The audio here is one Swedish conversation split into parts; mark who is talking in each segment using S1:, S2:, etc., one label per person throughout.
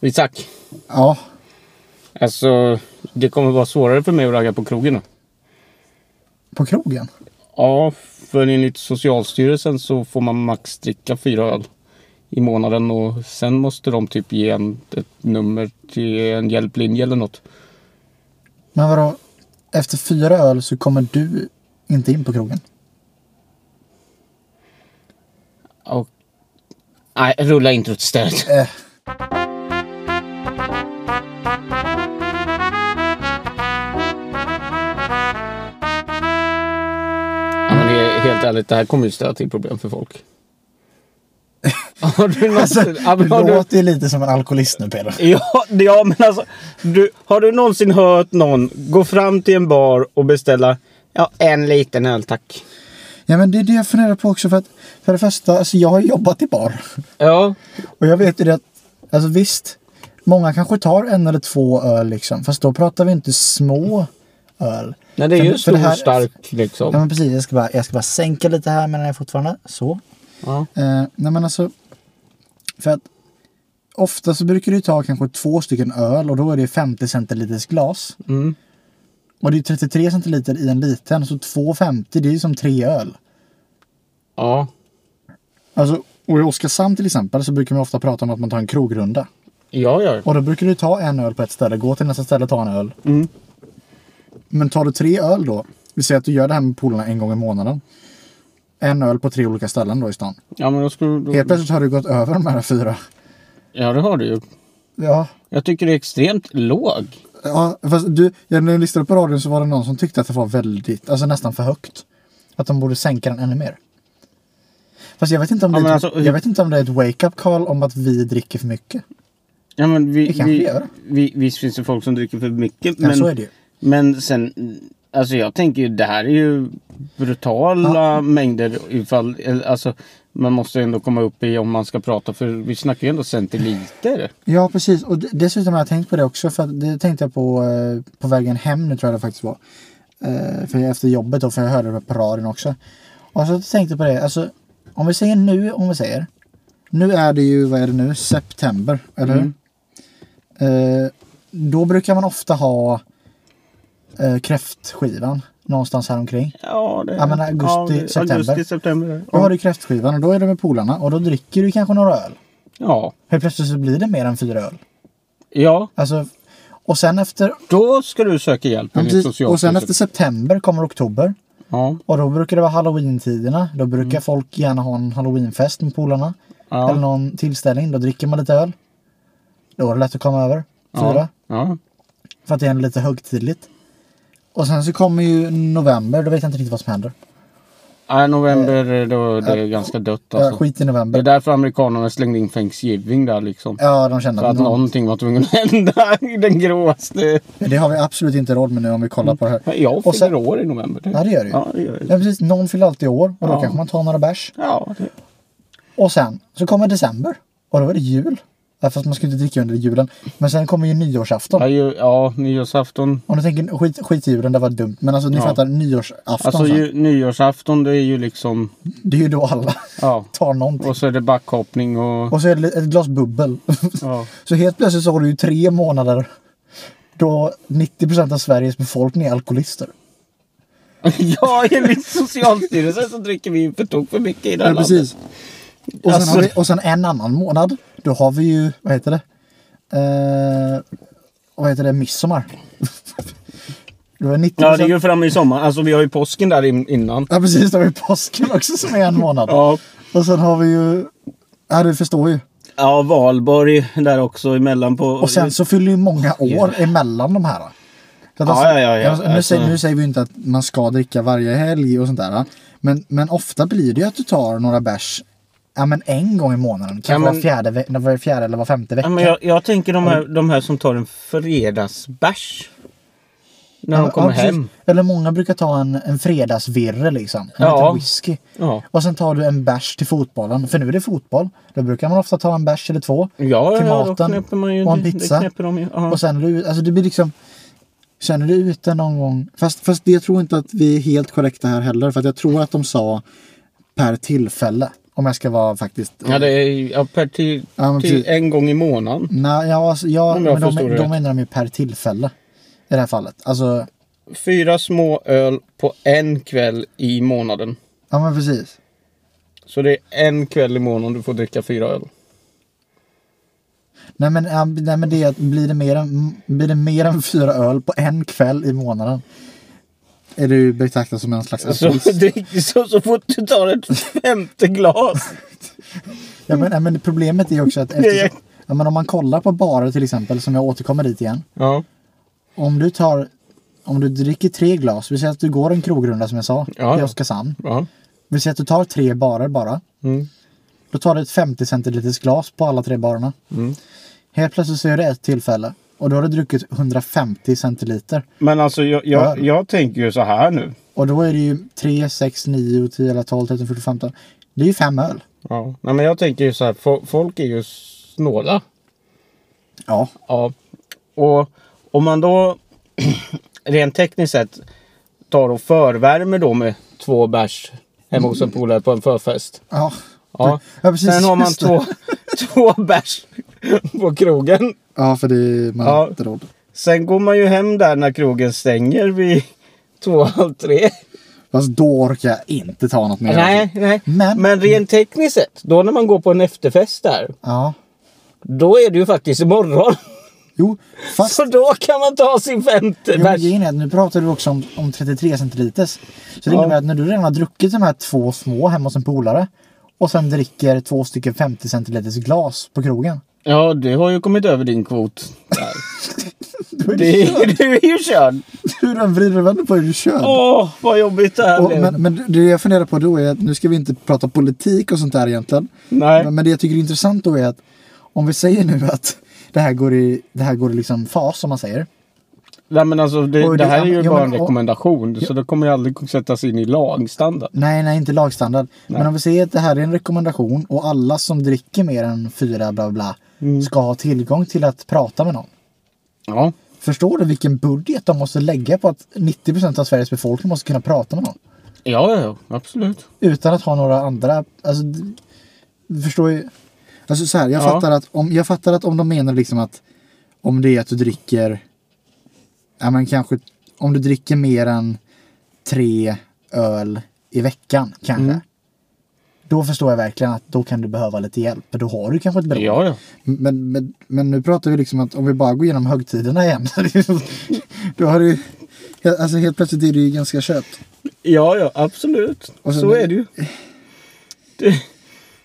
S1: Isak,
S2: Ja.
S1: alltså det kommer vara svårare för mig att ragga på krogen. då.
S2: På krogen?
S1: Ja, för enligt Socialstyrelsen så får man max dricka fyra öl i månaden och sen måste de typ ge en ett nummer till en hjälplinje eller något.
S2: Men vadå? Efter fyra öl så kommer du inte in på krogen?
S1: Och... Nej, rulla introt istället.
S2: Eh.
S1: Ja, men det är helt ärligt, det här kommer ju ställa till problem för folk. Har du något...
S2: Alltså,
S1: ja,
S2: du
S1: men har du-
S2: låter ju lite som en alkoholist nu Peder.
S1: Ja, det- ja men alltså. Du, har du någonsin hört någon gå fram till en bar och beställa ja, en liten öl tack?
S2: Ja men det är det jag funderar på också för att för det första, alltså jag har jobbat i bar.
S1: Ja.
S2: Och jag vet ju det att, alltså visst, många kanske tar en eller två öl liksom. Fast då pratar vi inte små öl.
S1: Nej, det är
S2: För-
S1: ju
S2: för
S1: stor
S2: det här-
S1: stark
S2: Ja
S1: liksom.
S2: men precis, jag ska bara, jag ska bara sänka lite här medan jag fortfarande, så.
S1: Ja.
S2: Eh, nej men alltså. För att ofta så brukar du ta kanske två stycken öl och då är det 50 centiliters glas.
S1: Mm.
S2: Och det är 33 centiliter i en liten så 2,50 det är ju som tre öl.
S1: ja.
S2: Alltså, och i Oskarshamn till exempel så brukar man ofta prata om att man tar en krogrunda.
S1: Ja, ja.
S2: Och då brukar du ta en öl på ett ställe, gå till nästa ställe och ta en öl.
S1: Mm.
S2: Men tar du tre öl då, vi säger att du gör det här med polarna en gång i månaden. En öl på tre olika ställen då i stan.
S1: Ja, men då skulle då...
S2: Helt plötsligt har du gått över de här fyra.
S1: Ja, det har du ju.
S2: Ja,
S1: Jag tycker det är extremt låg.
S2: Ja, fast du, ja, när jag lyssnade på radion så var det någon som tyckte att det var väldigt, alltså nästan för högt. Att de borde sänka den ännu mer. Fast jag vet inte om,
S1: Ja,
S2: det, är
S1: men
S2: ett,
S1: alltså, hur-
S2: jag vet inte om det är ett wake-up call om att vi dricker för mycket.
S1: Ja, men vi,
S2: Det kanske
S1: vi,
S2: gör.
S1: vi, visst finns det folk som dricker för mycket.
S2: Ja,
S1: Men,
S2: så är det ju.
S1: men sen, alltså jag tänker ju det här är ju brutala mängder ifall, eller, alltså man måste ändå komma upp i om man ska prata för vi snackar ju ändå centiliter.
S2: Ja, precis. Och d- dessutom har jag tänkt på det också. För att det tänkte jag på eh, på vägen hem nu tror jag det faktiskt var. Eh, för efter jobbet då, för jag hörde det på radion också. Och så tänkte jag på det, alltså om vi säger nu, om vi säger. Nu är det ju, vad är det nu, september, eller hur? Eh, då brukar man ofta ha eh, kräftskivan någonstans här omkring.
S1: Ja, det
S2: Ja, men augusti,
S1: det-
S2: september.
S1: Augusti, september.
S2: Då har
S1: Ja.
S2: du kräftskivan och då är det med polarna och då dricker du kanske några öl.
S1: ja,
S2: Helt plötsligt så blir det mer än fyra öl.
S1: ja,
S2: Alltså, och sen efter
S1: då ska du söka hjälp
S2: Ja,
S1: enligt
S2: precis. Och sen
S1: Socialstyrelsen.
S2: efter september kommer oktober.
S1: Ja,
S2: Och då brukar det vara halloween-tiderna. Då brukar folk gärna ha en halloweenfest med polarna. Eller
S1: Mm. ja,
S2: någon tillställning. Då dricker man lite öl. Då är det lätt att komma över. Fyra.
S1: ja, ja,
S2: För att det är lite högtidligt. Och sen så kommer ju november. Då vet jag inte riktigt vad som händer.
S1: ja. November, då, det är ganska dött
S2: Ja,
S1: alltså.
S2: skit i
S1: Det är
S2: november.
S1: därför amerikanerna slängde in Thanksgiving där liksom.
S2: Ja, de känner
S1: För
S2: att
S1: att
S2: någon...
S1: någonting var tvungen att hända i den gråaste.
S2: Men Det har vi absolut inte råd med nu om vi kollar på det här.
S1: Mm. Jag
S2: Och
S1: fyller
S2: sen-
S1: år i november. typ.
S2: Ja, det gör du ju.
S1: Ja, det gör
S2: Ja,
S1: det.
S2: precis. Någon fyller alltid år. Och då
S1: Ja.
S2: kanske man tar några bärs.
S1: Ja, det.
S2: Och sen så kommer december. Och då är det jul. Ja, Fast man ska ju inte dricka under julen. Men sen kommer ju nyårsafton.
S1: Ja, ju, ja, nyårsafton.
S2: Om du tänker skit, skit i julen, det var dumt. Men alltså ni
S1: Ja.
S2: fattar, nyårsafton.
S1: Alltså
S2: sen.
S1: ju, nyårsafton det är ju liksom...
S2: Det är ju då alla
S1: Ja.
S2: tar någonting.
S1: Och så är det backhoppning och...
S2: Och så är det ett glas bubbel.
S1: Ja.
S2: så helt plötsligt så har du ju tre månader då 90% av Sveriges befolkning är alkoholister.
S1: ja, enligt Socialstyrelsen så dricker vi för tok för mycket i det här
S2: Ja, precis. Och sen,
S1: Alltså-
S2: har vi, och sen en annan månad, då har vi ju, vad heter det? Eh, vad heter det? Midsommar. då är 90%.
S1: Ja, det är ju framme i sommar. Alltså vi har ju påsken där in, innan.
S2: ja precis, då har vi påsken också som är en månad.
S1: Ja.
S2: Och sen har vi ju, ja du förstår ju.
S1: ja, valborg där också emellan på...
S2: Och sen så fyller ju många år emellan de här. Så att
S1: Ja, ja, ja, ja.
S2: alltså, Nu,
S1: Alltså-
S2: säger, nu säger vi ju inte att man ska dricka varje helg och sånt där. Men, men ofta blir det ju att du tar några bärs ja, men en gång i månaden. Kanske
S1: Ja, men-
S2: var, fjärde, ve- var fjärde eller var femte vecka.
S1: Ja, men jag, jag tänker de här, de här som tar en fredagsbärs. När de
S2: Ja,
S1: kommer
S2: precis.
S1: hem.
S2: Eller många brukar ta en, en fredagsvirre liksom. En
S1: Ja.
S2: liten whisky.
S1: Ja.
S2: Och sen tar du en bärs till fotbollen. För nu är det fotboll. Då brukar man ofta ta en bärs eller två.
S1: Ja,
S2: till
S1: ja, då
S2: maten
S1: knäpper man ju.
S2: och en
S1: det-
S2: pizza.
S1: Det knäpper de ju. Ja.
S2: Och sen är du, alltså det blir liksom Känner du ut det någon gång? Fast, fast jag tror inte att vi är helt korrekta här heller. För att jag tror att de sa per tillfälle. Om jag ska vara faktiskt...
S1: Ja, det är ju- ja, per till,
S2: Ja, men
S1: till
S2: precis.
S1: en gång i månaden.
S2: Nej, ja, alltså, ja,
S1: Om jag
S2: men de,
S1: förstår det
S2: de
S1: rätt.
S2: menar de ju per tillfälle. I det här fallet. Alltså,
S1: Fyra små öl på en kväll i månaden.
S2: ja men precis.
S1: Så det är en kväll i månaden du får dricka fyra öl.
S2: Nej men, ja, nej, men det är att blir det, mer än, blir det mer än fyra öl på en kväll i månaden. Är du betraktad som en slags
S1: Så,
S2: alkoholist?
S1: drick- så, så fort du tar ett femte glas.
S2: Ja, men, ja, men problemet är ju också att eftersom, ja, men om man kollar på barer till exempel, som jag återkommer dit igen.
S1: Ja.
S2: Om du tar, om du dricker tre glas, vi säger att du går en krogrunda som jag sa,
S1: Ja,
S2: i
S1: ja.
S2: Oskarshamn.
S1: ja.
S2: Vi säger att du tar tre barer bara.
S1: Mm.
S2: Då tar du ett 50 centiliters glas på alla tre barerna.
S1: Mm.
S2: Helt plötsligt så är det ett tillfälle och då har du druckit 150 centiliter.
S1: Men alltså jag, jag,
S2: Ja.
S1: jag tänker ju så här nu.
S2: Och då är det ju 3, 6, 9, 10, eller 12, 13, 14, 15. Det är ju fem öl.
S1: Ja. Nej, men jag tänker ju så här. fo- Folk är ju snåla.
S2: Ja.
S1: Ja. Och om man då rent tekniskt sett tar och förvärmer då med två bärs hemma hos en polare på en förfest.
S2: Ja,
S1: Ja.
S2: Ja, precis.
S1: Sen har man
S2: Just det.
S1: två, två bärs på krogen.
S2: ja för det är man
S1: Ja.
S2: har inte råd.
S1: Sen går man ju hem där när krogen stänger vid två, halv tre.
S2: Fast då orkar jag inte ta något mer.
S1: Nej, nej.
S2: Men-
S1: Men rent tekniskt sett, då när man går på en efterfest där,
S2: Ja.
S1: då är det ju faktiskt imorgon.
S2: Jo, fast...
S1: Så då kan man ta sin femte
S2: Jo, men
S1: bärs.
S2: grejen är att nu pratar du också om, om 33 centiliters. Så det
S1: Ja.
S2: innebär att när du redan har druckit de här två små hemma hos en polare och sen dricker två stycken 50 centiliters glas på krogen.
S1: Ja, du har ju kommit över din kvot. Där.
S2: Då är det
S1: Det
S2: kört.
S1: är, du är ju körd.
S2: Hur den vrider och vänder på hur du kör.
S1: Åh, vad jobbigt det här
S2: Och,
S1: blev.
S2: men, men det jag funderar på då är att nu ska vi inte prata politik och sånt där egentligen.
S1: Nej.
S2: Men, men det jag tycker är intressant då är att om vi säger nu att det här går i, det här går i liksom fas som man säger.
S1: Nej, men alltså, det,
S2: Och
S1: det
S2: det-
S1: här är ju
S2: ja, men-
S1: bara en
S2: och-
S1: rekommendation. Så det kommer ju aldrig sättas in i lagstandard.
S2: Nej, nej, inte lagstandard. Men om vi säger att det här är en rekommendation och alla som dricker mer än fyra bla bla, bla ska ha tillgång till att prata med någon.
S1: Ja.
S2: Förstår du vilken budget de måste lägga på att 90% av Sveriges befolkning måste kunna prata med någon?
S1: Ja, ja, ja, absolut.
S2: Utan att ha några andra, alltså, d- du förstår ju. Alltså så här, jag,
S1: Ja.
S2: fattar att om, jag fattar att om de menar liksom att om det är att du dricker, ja men kanske, om du dricker mer än tre öl i veckan kanske. Då förstår jag verkligen att då kan du behöva lite hjälp, för då har du kanske ett beroende.
S1: Ja, ja.
S2: Men, men, men nu pratar vi liksom att om vi bara går igenom högtiderna igen. då har du alltså helt plötsligt är det ju ganska köpt.
S1: Ja, ja, absolut.
S2: Och sen-
S1: så är det ju. Det,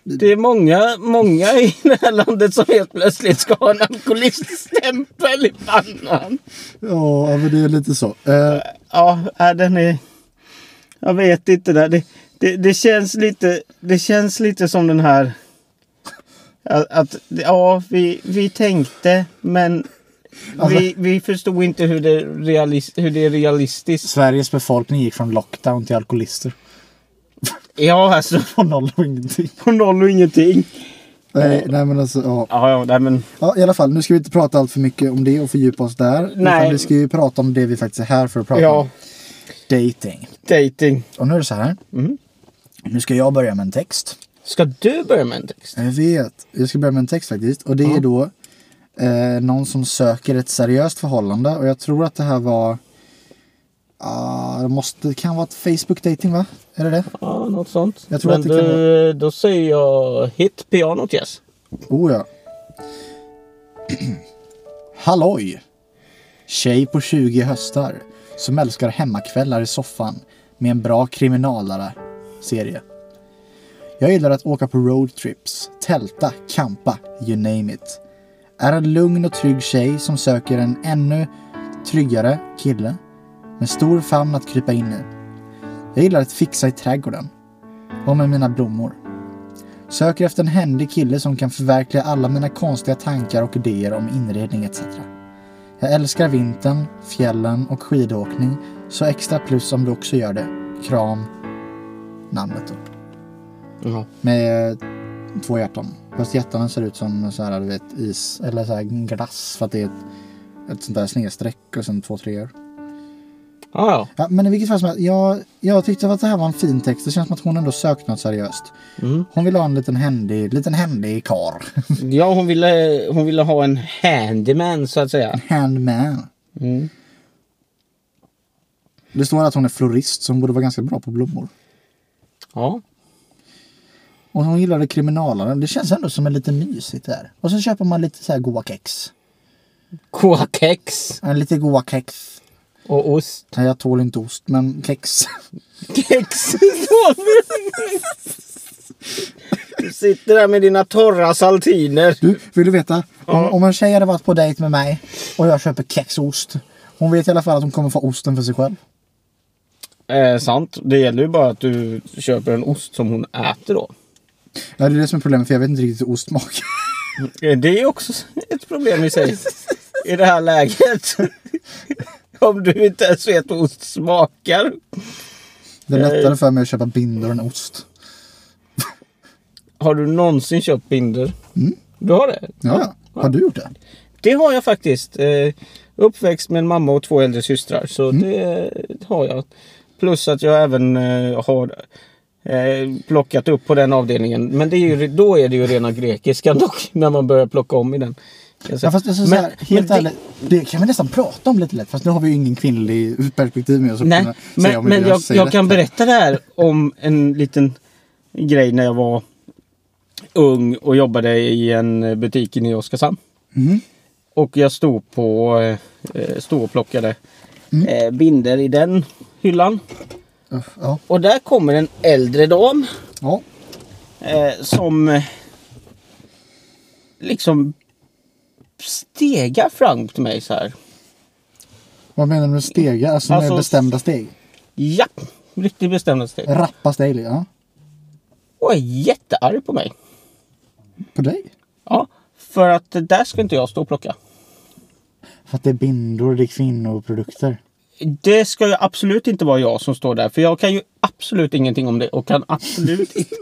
S1: det är många, många i det här landet som helt plötsligt ska ha en alkoholiststämpel i pannan.
S2: Ja, men det är lite så. Eh,
S1: Ja, äh, den är... Jag vet inte. Där. Det, det, det, känns lite, det känns lite som den här... Att, att ja, vi, vi tänkte, men
S2: Alltså-
S1: vi, vi förstod inte hur det, realis, hur det är realistiskt.
S2: Sveriges befolkning gick från lockdown till alkoholister.
S1: Ja, alltså.
S2: På noll och ingenting.
S1: På noll och ingenting.
S2: Nej, nej men alltså, ja.
S1: Ja, ja, nej, men...
S2: ja. I alla fall, nu ska vi inte prata allt för mycket om det och fördjupa oss där.
S1: Nej.
S2: Utan vi ska ju prata om det vi faktiskt är här för att prata
S1: Ja,
S2: om. Dating.
S1: dating.
S2: Och nu är det så här.
S1: Mm.
S2: Nu ska jag börja med en text.
S1: Ska du börja med en text?
S2: Jag vet. Jag ska börja med en text faktiskt. Och det är då eh, någon som söker ett seriöst förhållande. Och jag tror att det här var... ah, det, måste, det kan vara ett Facebook dating va? Är det det?
S1: Ja, något sånt.
S2: Jag tror
S1: men
S2: att det kan
S1: du, då säger jag hit pianot yes.
S2: Oh ja. Halloj! Tjej på 20 höstar som älskar hemmakvällar i soffan med en bra kriminalare serie. Jag gillar att åka på roadtrips, tälta, campa, you name it. Är en lugn och trygg tjej som söker en ännu tryggare kille med stor famn att krypa in i. Jag gillar att fixa i trädgården och med mina blommor. Söker efter en händig kille som kan förverkliga alla mina konstiga tankar och idéer om inredning etc. Jag älskar vintern, fjällen och skidåkning, så extra plus om du också gör det. Kram. Namnet då.
S1: Ja.
S2: Med eh, två hjärtan. Fast hjärtan ser ut som så här, du vet, is eller så här glass för att det är ett, ett sånt där snedstreck och sen två treor.
S1: Ja, ja.
S2: Ja, men i vilket fall som helst, jag, jag tyckte att det här var en fin text. Det känns som att hon ändå sökt något seriöst.
S1: Mm.
S2: Hon vill ha en liten händig, liten händig karl.
S1: Ja, hon ville, hon ville ha en handyman så att säga.
S2: Handman.
S1: Mm.
S2: Det står att hon är florist så hon borde vara ganska bra på blommor.
S1: Ja.
S2: Och hon gillade kriminalaren. Det känns ändå som en lite mysigt där. Och så köper man lite så här goa kex.
S1: Goa kex
S2: Ja, Lite goa kex.
S1: och ost.
S2: Nej, Jag tål inte ost, men kex.
S1: Kex Du sitter där med dina torra saltiner.
S2: Du, vill du veta? Om, om en tjej hade varit på dejt med mig och jag köper kexost. Hon vet i alla fall att hon kommer få osten för sig själv.
S1: Eh, sant. Det gäller ju bara att du köper en ost som hon äter då.
S2: Ja, det är det som är problemet för jag vet inte riktigt hur ost smakar.
S1: Eh, Det är också ett problem i sig. I det här läget. Om du inte ens vet hur ost smakar.
S2: Det är lättare för mig att köpa binder än ost.
S1: Har du någonsin köpt binder? Du har det?
S2: Ja, ja. Har du gjort det?
S1: Det har jag faktiskt. Eh, uppväxt med en mamma och två äldre systrar. Så
S2: Mm.
S1: det har jag. Plus att jag även eh, har eh, plockat upp på den avdelningen. Men det är ju,
S2: Mm.
S1: då är det ju rena grekiskan dock. När man börjar plocka om i den. Jag säger-
S2: Ja, fast det är så
S1: Men-
S2: så här, helt
S1: men det-
S2: ärligt, det kan vi nästan prata om lite lätt. Fast nu har vi ju ingen kvinnlig perspektiv med oss. att
S1: Nej,
S2: kunna säga
S1: men,
S2: om
S1: men
S2: hur
S1: jag,
S2: säger
S1: jag kan
S2: detta.
S1: berätta det här om en liten grej när jag var ung och jobbade i en butik inne i Oskarshamn.
S2: Mhm.
S1: Och jag stod på eh, stod och plockade eh, binder i den hyllan.
S2: Uff, Ja.
S1: Och där kommer en äldre dam
S2: ja.
S1: eh, som eh, liksom stegar fram till mig så här.
S2: Vad menar du med stegar? Alltså,
S1: Alltså-
S2: med bestämda steg?
S1: Ja, riktigt bestämda steg.
S2: Rappa steg, ja.
S1: Och är jättearg på mig.
S2: På dig?
S1: Ja, för att där ska inte jag stå och plocka.
S2: För att det är bindor, det är kvinnoprodukter.
S1: Det ska ju absolut inte vara jag som står där. För jag kan ju absolut ingenting om det och kan absolut inte...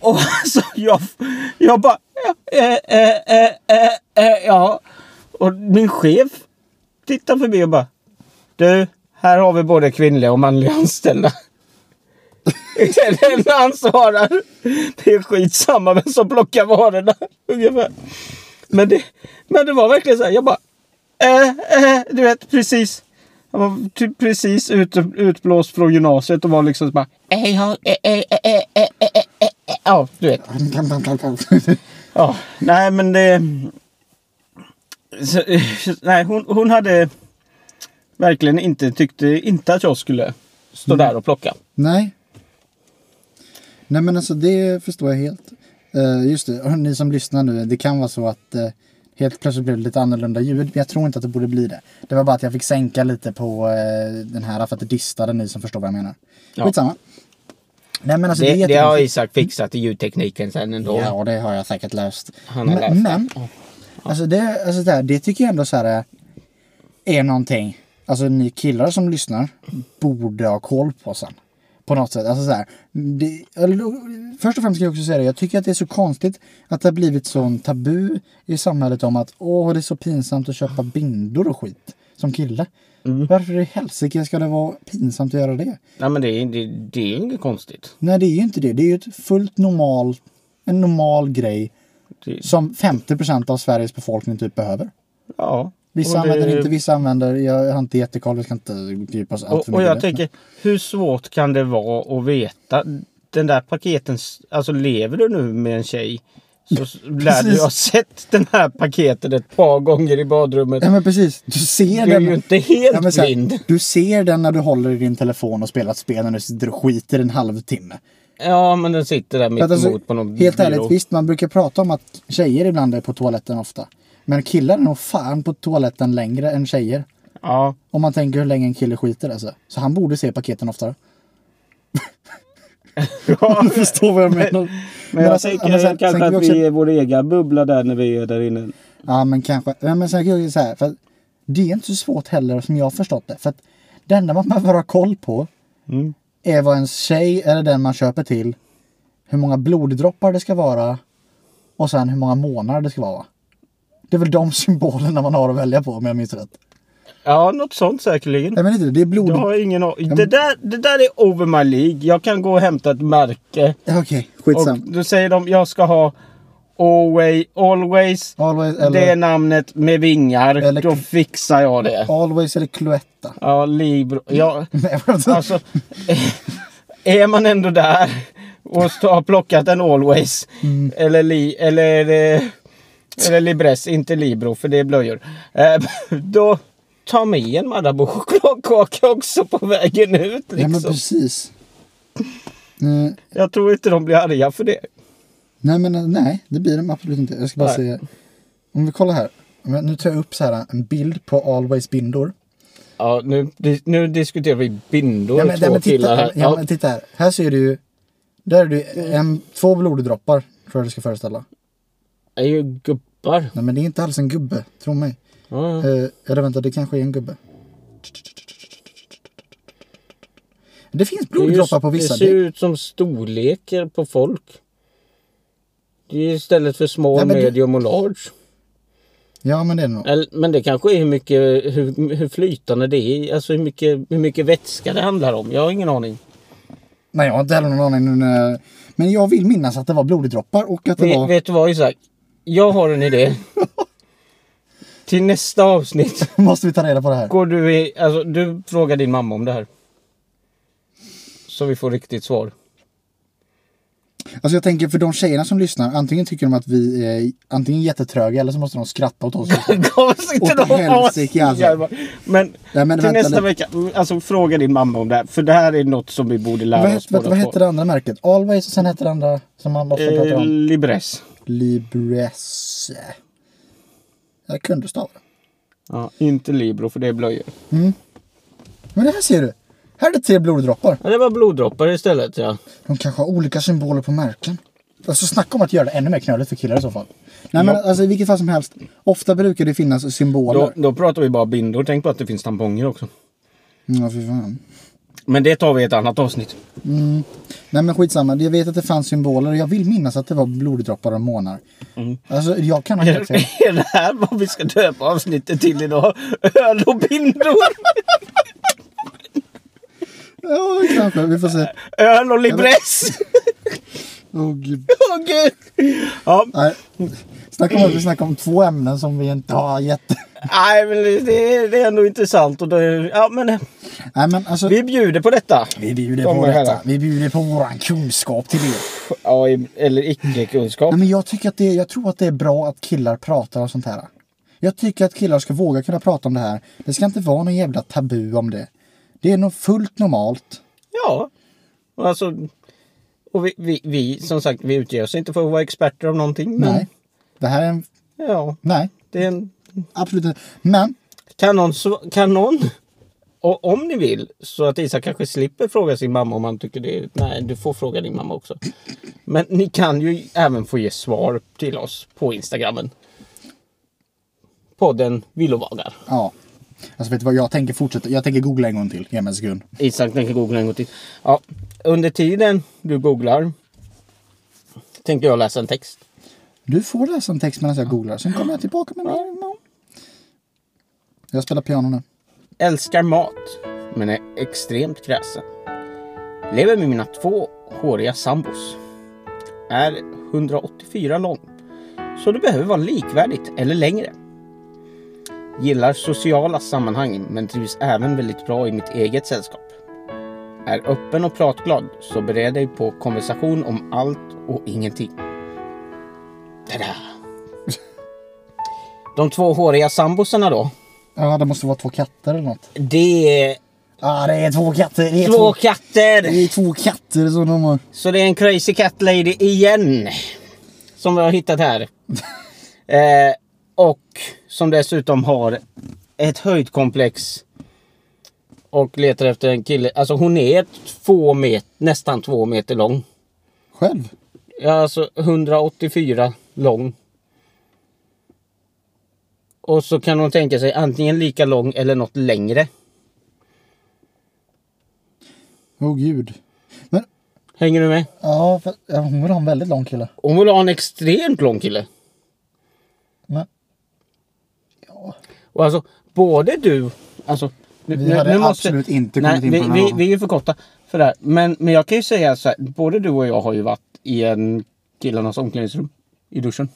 S1: Och alltså jag... Jag bara... eh, eh, eh, eh, eh, Ja. Och min chef tittar förbi och bara... Du, här har vi både kvinnliga och manliga anställda. Det är Den han svarar. Det är skitsamma vem som plockar varorna. Ungefär. Men det, men det var verkligen så här. Jag bara... Eh, eh, du vet, precis. Jag var typ precis ut, utblåst från gymnasiet och var liksom så bara... Eh, ja, eh, eh, eh, eh, eh, eh, eh, eh. Ja, du vet. Ja, nej men det... Så, eh, nej, hon, hon hade verkligen inte tyckte inte att jag skulle stå
S2: Mm.
S1: där och plocka.
S2: Nej. Nej men alltså det förstår jag helt. Eh, just det, och ni som lyssnar nu, det kan vara så att eh, helt plötsligt blev det lite annorlunda ljud. Men jag tror inte att det borde bli det. Det var bara att jag fick sänka lite på eh, den här för att det distade ni som förstår vad jag menar.
S1: Ja.
S2: Skitsamma. Nej men alltså det, är
S1: det, det har
S2: jättekonstigt.
S1: Isak fixat i ljudtekniken sen ändå.
S2: Ja det har jag säkert löst.
S1: Han har
S2: men,
S1: löst det.
S2: men alltså, det, alltså det, här, det tycker jag ändå så här är någonting. Alltså ni killar som lyssnar borde ha koll på sen. På något sätt. Alltså så här, det, eller, då- först och främst ska jag också säga det. Jag tycker att det är så konstigt att det har blivit sån tabu i samhället om att åh det är så pinsamt att köpa bindor och skit som kille.
S1: Mm.
S2: Varför i helsike ska det vara pinsamt att göra det?
S1: Nej men det, är- det, det är ju inget konstigt.
S2: Nej det är ju inte det. Det är ju ett fullt normal, en normal grej
S1: Det,
S2: som 50 av Sveriges befolkning typ behöver.
S1: ja.
S2: Vissa
S1: Och det-
S2: använder inte, vissa använder. Jag har inte jättekoll, vi ska inte fördjupa oss allt
S1: Och,
S2: för
S1: och
S2: mycket. i
S1: jag
S2: det.
S1: tänker, hur svårt kan det vara att veta? Den där paketen, alltså lever du nu med en tjej så s- lär du
S2: Precis.
S1: ha sett den här paketen ett par gånger i badrummet.
S2: Ja men precis, du ser
S1: Du är
S2: den.
S1: ju inte helt
S2: Ja, men så här,
S1: blind.
S2: du ser den när du håller i din telefon och spelar ett spel när du sitter och skiter en halvtimme.
S1: Ja, men den sitter där mitt
S2: För att alltså,
S1: emot på någon
S2: helt
S1: byrå.
S2: ärligt, visst man brukar prata om att tjejer ibland är på toaletten ofta. Men killar är nog fan på toaletten längre än tjejer.
S1: Ja,
S2: Om man tänker hur länge en kille skiter alltså. Så han borde se paketen oftare.
S1: Ja,
S2: Du förstår vad jag menar. Men,
S1: men jag
S2: alltså,
S1: tänker
S2: men sen- sen
S1: kanske
S2: kan
S1: att
S2: vi
S1: vi
S2: också-
S1: är vår ega bubbla där när vi är där inne.
S2: Ja, men kanske. Ja, Men sen kan jag ju säga så här, för att det är inte så svårt heller som jag har förstått det. För att det enda man behöver ha koll på
S1: Mm.
S2: är vad ens tjej eller den man köper till, hur många bloddroppar det ska vara och sen hur många månader det ska vara. va? Det är väl de symbolerna man har att välja på om jag minns rätt.
S1: Ja, något sånt säkerligen.
S2: Nej men inte det, det är
S1: Jag
S2: blodigt.
S1: har ingen a-
S2: Mm. men-
S1: det, där, det där är over my League. Jag kan gå och hämta ett märke.
S2: Ja, Okej, skitsam.
S1: Och då säger de jag ska ha Always, always
S2: Always
S1: det
S2: eller,
S1: namnet med vingar.
S2: Eller-
S1: Då fixar jag det.
S2: always eller Cloetta.
S1: Ja, Libro. Ja,
S2: Nej, men alltså,
S1: alltså, är man ändå där och st- har plockat en Always
S2: Mm.
S1: eller, li, eller, eh, eller Libres, inte Libro för det är blöjor. Eh, Då ta med en Marabou chokladkaka också på vägen ut.
S2: ja, men
S1: Liksom.
S2: precis. Eh,
S1: Jag tror inte de blir arga för det.
S2: Nej, men eh, nej, det blir de absolut inte. Jag ska bara
S1: Nej.
S2: säga. Om vi kollar här. Om jag- Nu tar jag upp så här eh, en bild på Always bindor.
S1: Ja, nu, nu diskuterar vi bindor
S2: Ja, men,
S1: två
S2: nej, men
S1: killar
S2: titta,
S1: här.
S2: ja, men titta här. Här ser du ju. Där är det ju en, två bloddroppar tror jag det ska föreställa.
S1: Det är ju gubbar.
S2: Nej, men det är inte alls en gubbe. Tro mig.
S1: Ja, ja.
S2: Eh, eller vänta, det kanske är en gubbe. Det finns
S1: Det är ju-
S2: bloddroppar på vissa.
S1: Det ser
S2: Det,
S1: ju ut som storlekar på folk. Det är ju istället för small,
S2: Ja, men det-
S1: medium och large.
S2: ja, men det är det nog.
S1: Eller, men det kanske är hur mycket hur, hur flytande det är. Alltså hur mycket, hur mycket vätska det handlar om. Jag har ingen aning.
S2: Nej, jag har inte heller någon aning. nu när- Men jag vill minnas att det var bloddroppar och att det
S1: Ve-
S2: var...
S1: Vet du vad Isak? Jag har en idé. Till nästa avsnitt
S2: Måste vi ta reda på det här?
S1: går du i... Alltså du frågar din mamma om det här. Så vi får riktigt svar.
S2: Alltså jag tänker för de tjejerna som lyssnar, antingen tycker de att vi är antingen jättetröga eller så måste de skratta åt oss.
S1: Konstigt
S2: Åt helsike, alltså.
S1: Men,
S2: Nej, men
S1: till
S2: vänta
S1: nästa
S2: lite.
S1: vecka, alltså fråga din mamma om det här. För det här är något som vi borde lära
S2: vad,
S1: oss
S2: hette, vänta, vad hette det andra märket? Always och sen hette det andra som man ofta pratar
S1: Eh,
S2: om?
S1: Libres.
S2: Libresse. Jag kunde stava det.
S1: Ja, inte Libro för det är blöjor.
S2: Men det här ser du! Här är det tre bloddroppar.
S1: Ja, det var bloddroppar istället ja.
S2: De kanske har olika symboler på märken. Alltså snacka om att göra det ännu mer knöligt för killar i så fall. Nej men alltså i vilket fall som helst. Ofta brukar det finnas symboler.
S1: Då, då pratar vi bara bindor. Tänk på att det finns tamponger också.
S2: Mm, Ja fy fan.
S1: Men det tar vi i ett annat avsnitt.
S2: Mm. Nej men skitsamma, jag vet att det fanns symboler och jag vill minnas att det var bloddroppar och månar. Alltså jag kan ha helt fel.
S1: Är det här vad vi ska döpa avsnittet till idag? Öl och bindor!
S2: Ja, kanske. Vi får se.
S1: Öl och Libres!
S2: Åh gud.
S1: Åh gud! Ja,
S2: Nej. Snacka om att vi snackar om två ämnen som vi inte har jätte...
S1: nej men det är, det är ändå intressant. Och det, ja, men,
S2: Nej men alltså. Vi,
S1: vi bjuder på detta.
S2: bjuder
S1: Kom
S2: på
S1: här
S2: detta.
S1: då.
S2: Vi bjuder på våran kunskap till er.
S1: Ja, i- eller icke-kunskap.
S2: Nej men jag tycker att det, jag tror att det är bra att killar pratar om sånt här. Jag tycker att killar ska våga kunna prata om det här. Det ska inte vara någon jävla tabu om det. Det är nog fullt normalt.
S1: Ja. Och Alltså, och vi, vi, vi, som sagt, vi utger oss inte för att vara experter om någonting. Men,
S2: Nej. Det här är en...
S1: Ja,
S2: Nej.
S1: det är en...
S2: Absolut inte. Men.
S1: Kan någon, sv- kan någon och om ni vill, så att Isak kanske slipper fråga sin mamma om han tycker det är... Nej, du får fråga din mamma också. Men ni kan ju även få ge svar till oss på Instagrammen. Podden Villovagar.
S2: Ja. Alltså vet du vad, jag tänker fortsätta. Jag tänker googla en gång till. Ge mig en sekund.
S1: Isak tänker googla en gång till. Ja, under tiden du googlar tänker jag läsa en text.
S2: Du får läsa en text medan jag googlar. Sen kommer jag tillbaka med mer imorgon. Jag spelar piano nu.
S1: Älskar mat, men är extremt kräsen. Lever med mina två håriga sambos. Är 184 lång, så det behöver vara likvärdigt eller längre. Gillar sociala sammanhang, men trivs även väldigt bra i mitt eget sällskap. Är öppen och pratglad, så bered dig på konversation om allt och ingenting. Tada! De två håriga sambosarna då?
S2: Ja, det måste vara två katter eller något.
S1: Det är
S2: Ja, det är två katter. Det är två,
S1: Två
S2: det
S1: katter!
S2: är två katter som de har.
S1: Så det är en crazy cat lady igen. Som vi har hittat här. Eh, och som dessutom har ett höjdkomplex. Och letar efter en kille. Alltså hon är två meter, nästan två meter lång.
S2: Själv?
S1: Ja, alltså 184 lång. Och så kan hon tänka sig antingen lika lång eller något längre.
S2: Åh oh, gud. Men,
S1: Hänger du med?
S2: ja, för, ja, hon vill ha en väldigt lång kille.
S1: Hon vill ha en extremt lång kille.
S2: Men,
S1: Och alltså, både du Alltså, nu,
S2: Vi
S1: nu-
S2: hade
S1: nu måste-
S2: absolut inte kommit
S1: Nej,
S2: in
S1: vi,
S2: på den här
S1: vi,
S2: banan.
S1: vi är ju för korta för det här. Men, men jag kan ju säga så här, både du och jag har ju varit i en killarnas omklädningsrum i duschen.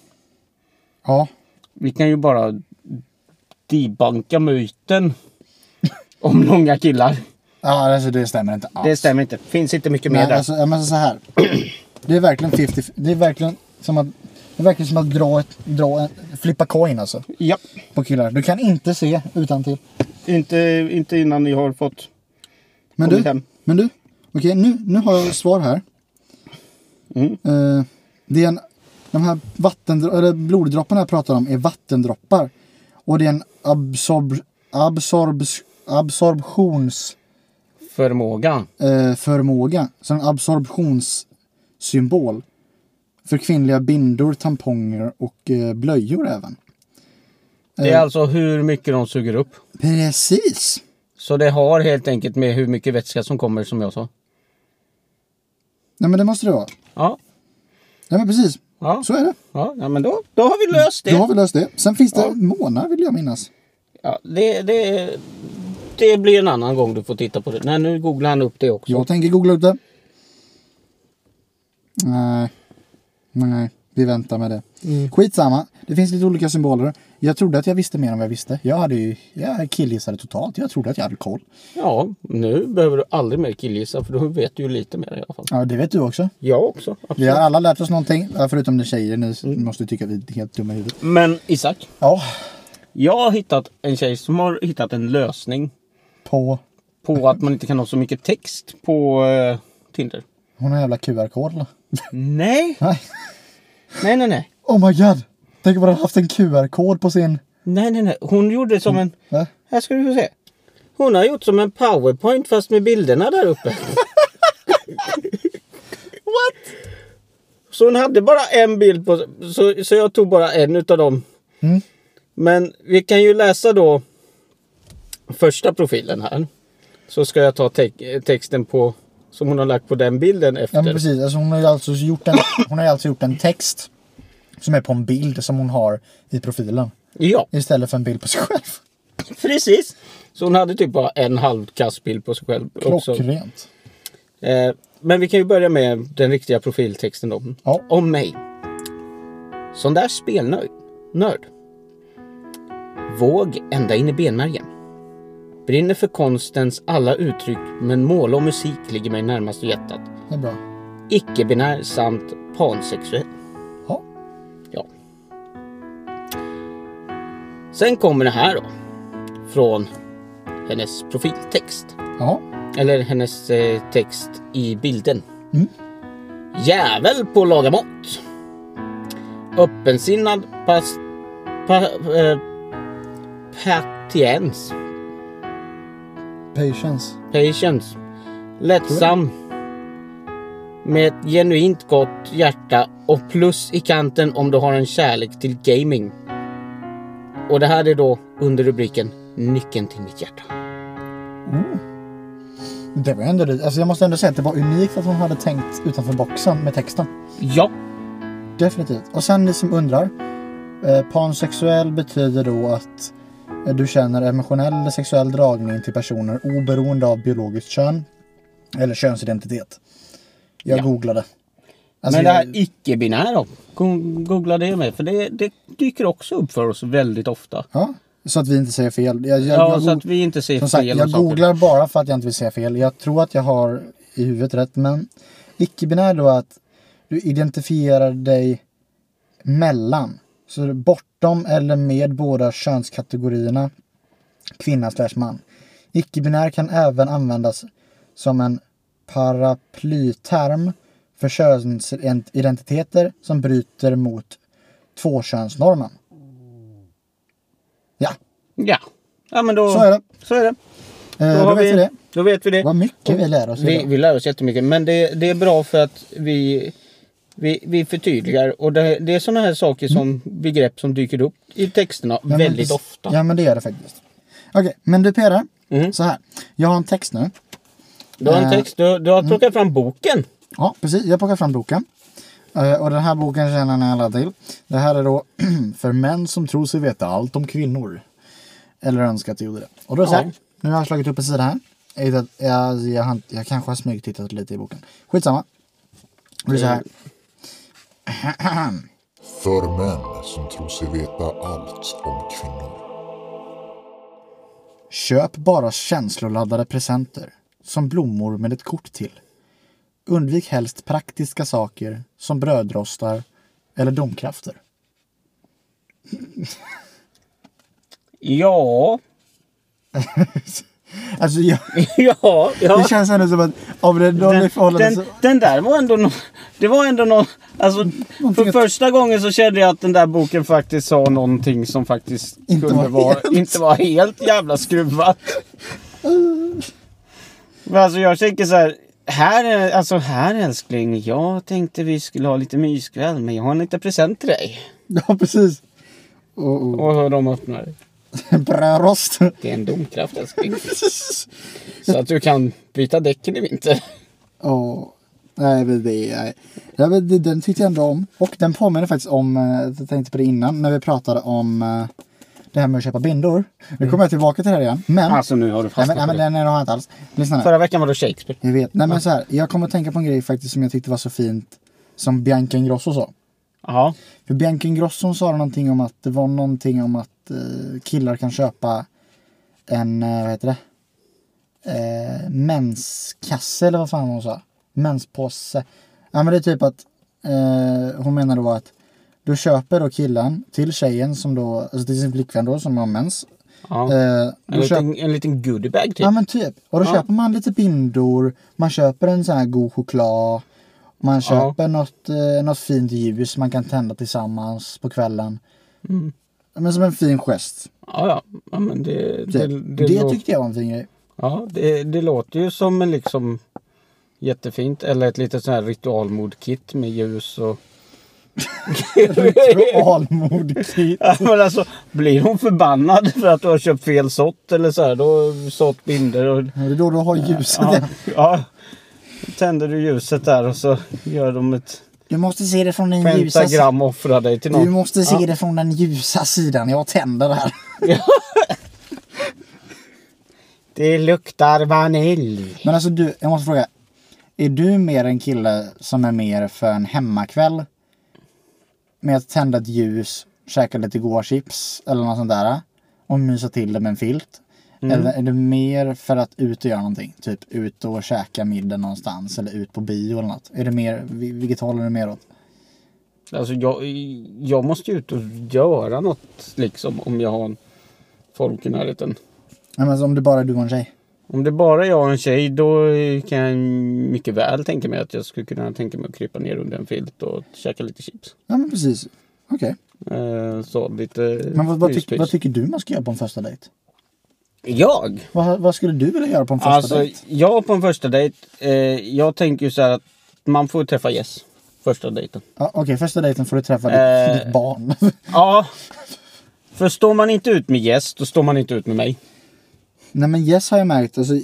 S2: Ja.
S1: Vi kan ju bara debunka myten om långa killar.
S2: ja, alltså det stämmer inte alls.
S1: Det stämmer inte. Finns inte mycket mer
S2: Nej,
S1: där.
S2: alltså, ja, men så här. Det är verkligen 50, det är verkligen som att, det är verkligen som att dra ett, dra en, flippa coin alltså.
S1: Ja,
S2: På killar. Du kan inte se utan till.
S1: inte, inte innan ni har fått
S2: Men
S1: kommit
S2: du,
S1: hem.
S2: men du. Okej, nu, nu har jag svar här.
S1: Mm.
S2: Eh, det är en, de här vattendro- eller bloddropparna jag pratar om är vattendroppar. Och det är en absorb, absorbs, absorptions...
S1: Förmågan.
S2: eh, förmåga. Så en absorptionssymbol. För kvinnliga bindor, tamponger och eh, blöjor även.
S1: Det är
S2: Eh.
S1: alltså hur mycket de suger upp.
S2: Precis!
S1: Så det har helt enkelt med hur mycket vätska som kommer som jag sa.
S2: Nej men det måste det vara.
S1: Ja,
S2: Nej men precis.
S1: ja,
S2: Så är det.
S1: ja, ja men då, då har vi löst det.
S2: Då har vi löst det. Sen finns det
S1: Ja.
S2: månar vill jag minnas.
S1: Ja, det, det, det blir en annan gång du får titta på det. Nej, nu googlar han upp det också.
S2: Jag tänker googla upp det. Nej. Nej. Vi väntar med det.
S1: Mm.
S2: Skitsamma. Det finns lite olika symboler. Jag trodde att jag visste mer än vad jag visste. Jag hade ju... Jag killgissade totalt. Jag trodde att jag hade koll.
S1: Ja, nu behöver du aldrig mer killgissa för då vet du ju lite mer i alla fall.
S2: Ja, det vet du också.
S1: Jag också.
S2: Vi
S1: Absolut.
S2: har alla lärt oss någonting, ja, förutom ni tjejer. Ni måste tycka att vi är helt dumma i huvudet.
S1: Men Isak,
S2: Mm. Ja,
S1: jag har hittat en tjej som har hittat en lösning
S2: på...
S1: på att man inte kan ha så mycket text på eh, Tinder.
S2: Hon har en jävla QR-kod eller?
S1: Nej,
S2: Nej.
S1: nej, nej, nej.
S2: Oh my god! Tänk om hon hade haft en QR-kod på sin...
S1: Nej, nej, nej. Hon gjorde som en...
S2: Va?
S1: Här ska du få se. Hon har gjort som en powerpoint fast med bilderna där uppe. What? Så hon hade bara en bild på så, så jag tog bara en utav dem.
S2: Mm.
S1: Men vi kan ju läsa då första profilen här. Så ska jag ta te- texten på som hon har lagt på den bilden
S2: Ja,
S1: efter.
S2: men precis. Alltså, hon har ju alltså gjort en, hon har ju alltså gjort en text som är på en bild som hon har i profilen.
S1: ja,
S2: Istället för en bild på sig själv.
S1: precis. Så hon hade typ bara en halvkass bild på sig själv. också.
S2: Klockrent.
S1: Eh, men vi kan ju börja med den riktiga profiltexten då.
S2: Ja.
S1: Om mig. Sån där spelnörd. Nörd. Våg ända in i benmärgen. Brinner för konstens alla uttryck men mål och musik ligger mig närmast hjärtat.
S2: Det är bra.
S1: Icke-binär samt pansexuell.
S2: Ja.
S1: Ja. Sen kommer det här då. Från hennes profiltext.
S2: Ja.
S1: Eller hennes eh, text i bilden.
S2: Mm.
S1: Jävel på att laga mat. Öppensinnad pas, pa, eh, patiens.
S2: Patience.
S1: Patience. Lättsam. Med ett genuint gott hjärta och plus i kanten om du har en kärlek till gaming. Och det här är då under rubriken Nyckeln till mitt hjärta.
S2: Det var ändå det. Alltså, jag måste ändå säga att det var unikt att hon hade tänkt utanför boxen med texten.
S1: Ja,
S2: Definitivt. Och sen ni som undrar. Eh, pansexuell betyder då att eh, du känner emotionell eller sexuell dragning till personer oberoende av biologiskt kön eller könsidentitet. Jag
S1: Ja.
S2: googlade. Alltså,
S1: Men det här
S2: jag-
S1: icke-binära, go- googla det med. För det, det dyker också upp för oss väldigt ofta.
S2: Ja, så att vi inte säger fel. Jag, jag,
S1: Ja,
S2: jag
S1: så
S2: goog-
S1: att vi inte ser
S2: som sagt,
S1: fel om
S2: jag
S1: saker.
S2: googlar bara för att jag inte vill säga fel. Jag tror att jag har i huvudet rätt, men icke-binär då att du identifierar dig mellan, så är det bortom eller med båda könskategorierna kvinna slash man. Icke-binär kan även användas som en paraplyterm för könsidentiteter som bryter mot tvåkönsnormen. Ja,
S1: Ja. ja, men då
S2: så är det.
S1: Så är det.
S2: Eh,
S1: Då,
S2: då
S1: har
S2: vet
S1: vi,
S2: vi det.
S1: då vet vi det.
S2: Vad mycket vi lär oss
S1: Vi,
S2: idag.
S1: vi lär oss jättemycket. Men det, det är bra för att vi, vi, vi förtydligar. Och det, det är sådana här saker som begrepp som dyker upp i texterna
S2: Ja, men
S1: väldigt
S2: det-
S1: ofta.
S2: Ja men det gör det faktiskt. Okej, men du Peder.
S1: Mm.
S2: Så här. Jag har en text nu.
S1: Du har en
S2: Eh,
S1: text. Du, du har plockat fram boken.
S2: Ja, precis. Jag plockar fram boken. Eh, och den här boken känner ni alla till. Det här är då för män som tror sig veta allt om kvinnor. Eller önska att jag gjorde det. Och då så här, nu har jag slagit upp en sida här. Jag, hittat, jag, jag, har inte- jag kanske har smygtittat lite i boken. Skitsamma. Och det är så här.
S3: För män som tror sig veta allt om kvinnor.
S2: Köp bara känsloladdade presenter, som blommor med ett kort till. Undvik helst praktiska saker som brödrostar eller domkrafter.
S1: Ja.
S2: Alltså, jag,
S1: Ja. ja.
S2: det känns ändå som att om det är någon i
S1: Den,
S2: förhållande
S1: den,
S2: så...
S1: den där var ändå nå- Det var ändå någon... Alltså, för
S2: att-
S1: första gången så kände jag att den där boken faktiskt sa någonting som faktiskt
S2: Inte
S1: kunde
S2: var
S1: vara,
S2: helt.
S1: inte var helt jävla skruvat. Men alltså jag tänker så här. Här, är- alltså här älskling, jag tänkte vi skulle ha lite myskväll men jag har en liten present till dig.
S2: Ja, precis. Och, och,
S1: Och hur de öppnar.
S2: brödrost.
S1: Det är en domkraft älskling. Så att du kan byta däcken i vinter.
S2: Ja. Nej, men det är... Ja, men det- den tyckte jag ändå om. Och den påminner faktiskt om, eh, jag tänkte på det innan, när vi pratade om eh, det här med att köpa bindor.
S1: Mm.
S2: Nu kommer jag tillbaka till det här igen. Men,
S1: Alltså nu har du
S2: nej,
S1: fastnat
S2: men, nej,
S1: på
S2: men
S1: det.
S2: den har jag inte alls. Lyssna nu.
S1: Förra veckan var det Shakespeare.
S2: Jag vet. Nej, men så här, jag kommer att tänka på en grej faktiskt som jag tyckte var så fint. Som Bianca Ingrosso sa.
S1: Ja.
S2: För Bianca Ingrosso sa någonting om att det var någonting om att eh, killar kan köpa en, eh, vad heter det? Eh, menskasse eller vad fan hon sa. Menspåse. Ja men det är typ att eh, hon menar då att då köper då killen till tjejen som då, alltså till sin flickvän då som har mens.
S1: ja.
S2: Eh,
S1: En
S2: då köper,
S1: liten, en liten goodiebag typ.
S2: ja men typ. Och då
S1: Ja.
S2: köper man lite bindor, man köper en sån här god choklad. Man köper något, eh, något fint ljus man kan tända tillsammans på kvällen.
S1: Mm.
S2: Men som en fin gest.
S1: Ja, ja. ja men det,
S2: Det,
S1: det,
S2: det,
S1: det, lå-
S2: tyckte jag var en fin grej.
S1: ja, det, det låter ju som en liksom jättefint. Eller ett litet sån här ritualmordkit med ljus och...
S2: Ritualmordkit.
S1: Ja, men alltså, blir hon förbannad för att du har köpt fel sort eller så här, då sått binder och...
S2: Det är då du har ljuset.
S1: Ja, ja. Tänder du ljuset där och så gör de ett
S2: Du måste se det från den ljusa sidan.
S1: pentagram och offrar dig till
S2: Du
S1: någon.
S2: måste se det från den ljusa sidan. Jag tänder där.
S1: Det luktar vanilj.
S2: Men alltså du, jag måste fråga. Är du mer en kille som är mer för en hemmakväll? Med att tända ett ljus, käka lite goa chips eller något sånt där. Och mysa till det med en filt.
S1: Mm.
S2: Eller är det mer för att ut och göra någonting? Typ ut och käka middag någonstans eller ut på bio eller något. Är det mer, vil- vilket håll är du mer åt?
S1: Alltså jag, jag måste ju ut och göra något liksom om jag har en folk i närheten.
S2: Nej men alltså, om det bara är du och en tjej.
S1: Om det bara är jag och en tjej då kan jag mycket väl tänka mig att jag skulle kunna tänka mig att krypa ner under en filt och käka lite chips.
S2: Ja men precis. Okej.
S1: Eh, så lite
S2: Men vad, vad, tyck,
S1: myspys.
S2: vad tycker du man ska göra på en första dejt?
S1: Jag?
S2: Vad, vad skulle du vilja göra på en första
S1: Alltså
S2: dejt?
S1: jag på en första dejt, eh, jag tänker ju så här att man får träffa Jess första dejten.
S2: Ja, Okej, första dejten får du träffa
S1: Eh.
S2: ditt, ditt barn.
S1: Ja. För står man inte ut med Jess då står man inte ut med mig.
S2: Nej men Jess har jag märkt, alltså,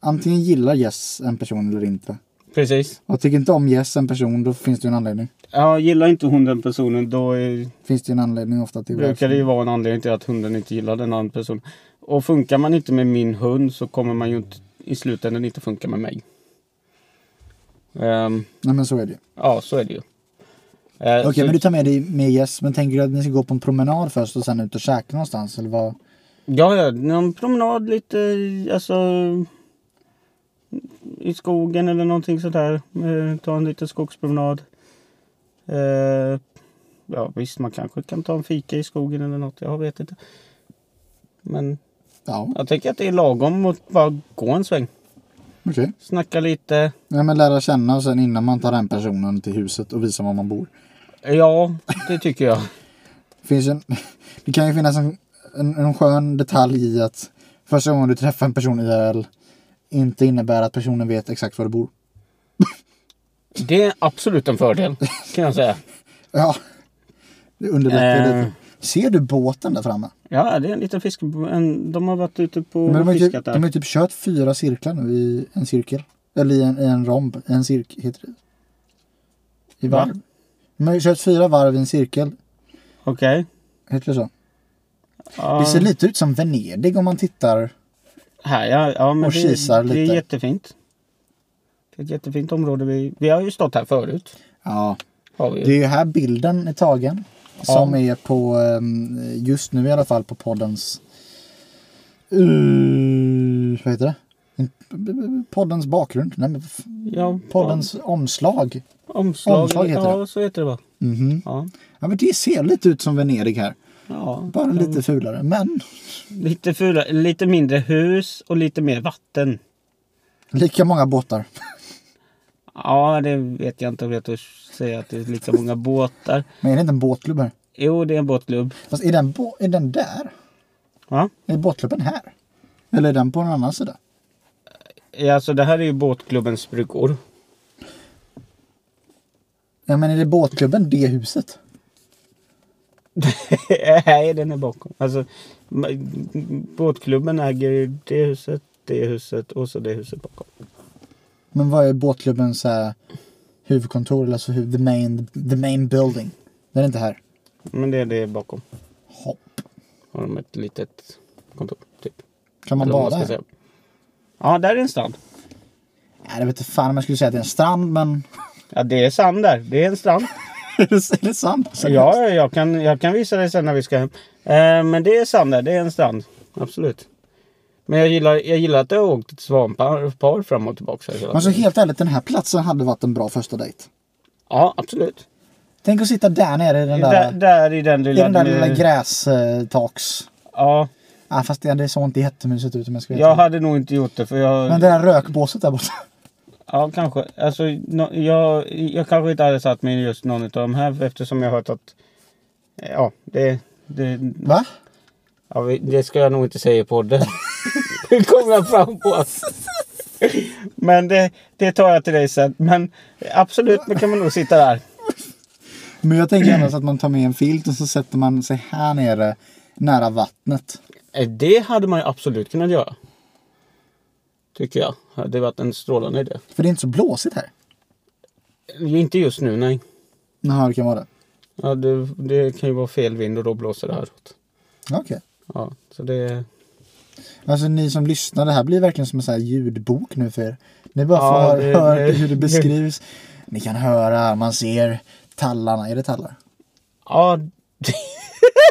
S2: antingen gillar Jess en person eller inte.
S1: Precis.
S2: Och tycker inte om Jess en person, då finns det ju en anledning.
S1: Ja, gillar inte hon den personen då är
S2: Finns det ju en anledning ofta till
S1: brukar det ju vara en anledning till att hunden inte gillar den andra personen. Och funkar man inte med min hund så kommer man ju inte, i slutändan inte funka med mig. Ehm,
S2: Nej men så är det ju.
S1: ja, så är det ju. Eh,
S2: Okej,
S1: Alltså-
S2: men du tar med dig med Jess, men tänker du att ni ska gå på en promenad först och sen ut och käka någonstans? Eller vad?
S1: Ja, ja, någon promenad lite, alltså i skogen eller någonting sådär. Eh, ta en liten skogspromenad. Eh, ja, visst, man kanske kan ta en fika i skogen eller något. Jag vet inte. Men
S2: Ja,
S1: jag tänker att det är lagom att bara gå en sväng.
S2: okej.
S1: Snacka lite.
S2: Nej men lära känna och sen innan man tar den personen till huset och visar var man bor.
S1: Ja, det tycker jag.
S2: Finns ju en, det kan ju finnas en, en, en skön detalj i att första gången du träffar en person IRL inte innebär att personen vet exakt var du bor.
S1: Det är absolut en fördel, kan jag säga.
S2: Ja. Det underlättar
S1: Eh.
S2: lite. Ser du båten där framme?
S1: Ja, det är en liten fisk. En, de har varit ute på
S2: Men de, har
S1: och
S2: ju typ,
S1: fiskat
S2: de
S1: där.
S2: har ju typ kört fyra cirklar nu i en cirkel. Eller i en, i en romb. En cirk heter det. I
S1: Va?
S2: varv. De har ju kört fyra varv i en cirkel.
S1: Okej.
S2: Heter det så?
S1: Ja.
S2: Det ser lite ut som Venedig om man tittar.
S1: Här ja, ja men
S2: Och
S1: det,
S2: kisar
S1: det
S2: lite.
S1: är jättefint. Det är ett jättefint område. Vi, vi har ju stått här förut.
S2: Ja.
S1: Har vi ju.
S2: Det är ju här bilden är tagen. Som är på, ehm, just nu i alla fall, på poddens... Uh, vad heter det? Poddens bakgrund? Nej, men f-
S1: ja,
S2: poddens omslag.
S1: ja, omslag,
S2: omslag heter
S1: ja, så heter det va?
S2: Mhm.
S1: Ja.
S2: Ja, men det ser lite ut som Venedig här.
S1: Ja,
S2: Bara lite fulare. Men
S1: lite, fula, lite mindre hus och lite mer vatten.
S2: lika många båtar.
S1: Ja, det vet jag inte om jag törs säga att det är lika många båtar.
S2: Men är det inte en båtklubb här?
S1: Jo, det är en båtklubb.
S2: Fast är den, bå- är den där?
S1: Ja.
S2: Är båtklubben här? Eller är den på en annan sida?
S1: Ja, Alltså, det här är ju båtklubbens bryggor.
S2: Ja, men är det båtklubben det huset?
S1: Nej, den är bakom. Alltså, ma- båtklubben äger ju det huset, det huset och så det huset bakom.
S2: Men vad är båtklubbens eh, huvudkontor? Eller alltså hu- the main, the main building? Den är inte här.
S1: Men det är det bakom.
S2: Hopp.
S1: Har de ett litet kontor, typ.
S2: Kan man
S1: Eller vad
S2: bada
S1: ska
S2: här?
S1: säga. Ja, där är en strand.
S2: Nej, det vet inte fan om jag skulle säga att det är en strand, men...
S1: Ja, det är sand där. Det är en strand.
S2: är det är det sant? Så-
S1: Ja, ja, jag kan, jag kan visa dig sen när vi ska hem. Eh, men det är sand där. Det är en strand. Absolut. Men jag gillar, jag gillar att det har åkt ett svanpar par fram och tillbaka. hela
S2: Men så
S1: tiden.
S2: Alltså, helt ärligt, den här platsen hade varit en bra första dejt.
S1: Ja, absolut. tänk
S2: Tänk att sitta där nere i den
S1: Där,
S2: där,
S1: där i den
S2: i
S1: lilla...
S2: den där lilla grästaks...
S1: Ja,
S2: Ja, fast det, det såg inte jättemysigt ut om jag ska vara
S1: jag
S2: helt ärlig.
S1: hade nog inte gjort det för jag...
S2: Men det där rökbåset där borta.
S1: Ja, kanske. Alltså, nå- jag, jag kanske inte hade satt mig i just någon av de här eftersom jag hört att... Ja, det... det
S2: Va?
S1: Ja, vi- det ska jag nog inte säga i podden. Det kom jag fram på. Men det, det tar jag till dig sen. Men absolut, nu kan man nog sitta där.
S2: Men jag tänker annars att man tar med en filt och så sätter man sig här nere nära vattnet.
S1: Eh, Det hade man ju absolut kunnat göra. Tycker jag. Det hade varit en strålande idé.
S2: För det är inte så blåsigt här.
S1: Inte just nu, nej.
S2: Jaha, det kan vara det.
S1: Ja, det, det kan ju vara fel vind och då blåser det häråt.
S2: Okej.
S1: Ja, så det...
S2: Alltså ni som lyssnar, det här blir verkligen som en sån här ljudbok nu för er. Ni bara
S1: Ja,
S2: får
S1: det-
S2: höra
S1: det-
S2: hur det beskrivs. Ni kan höra, man ser tallarna. Är det tallar?
S1: Ja...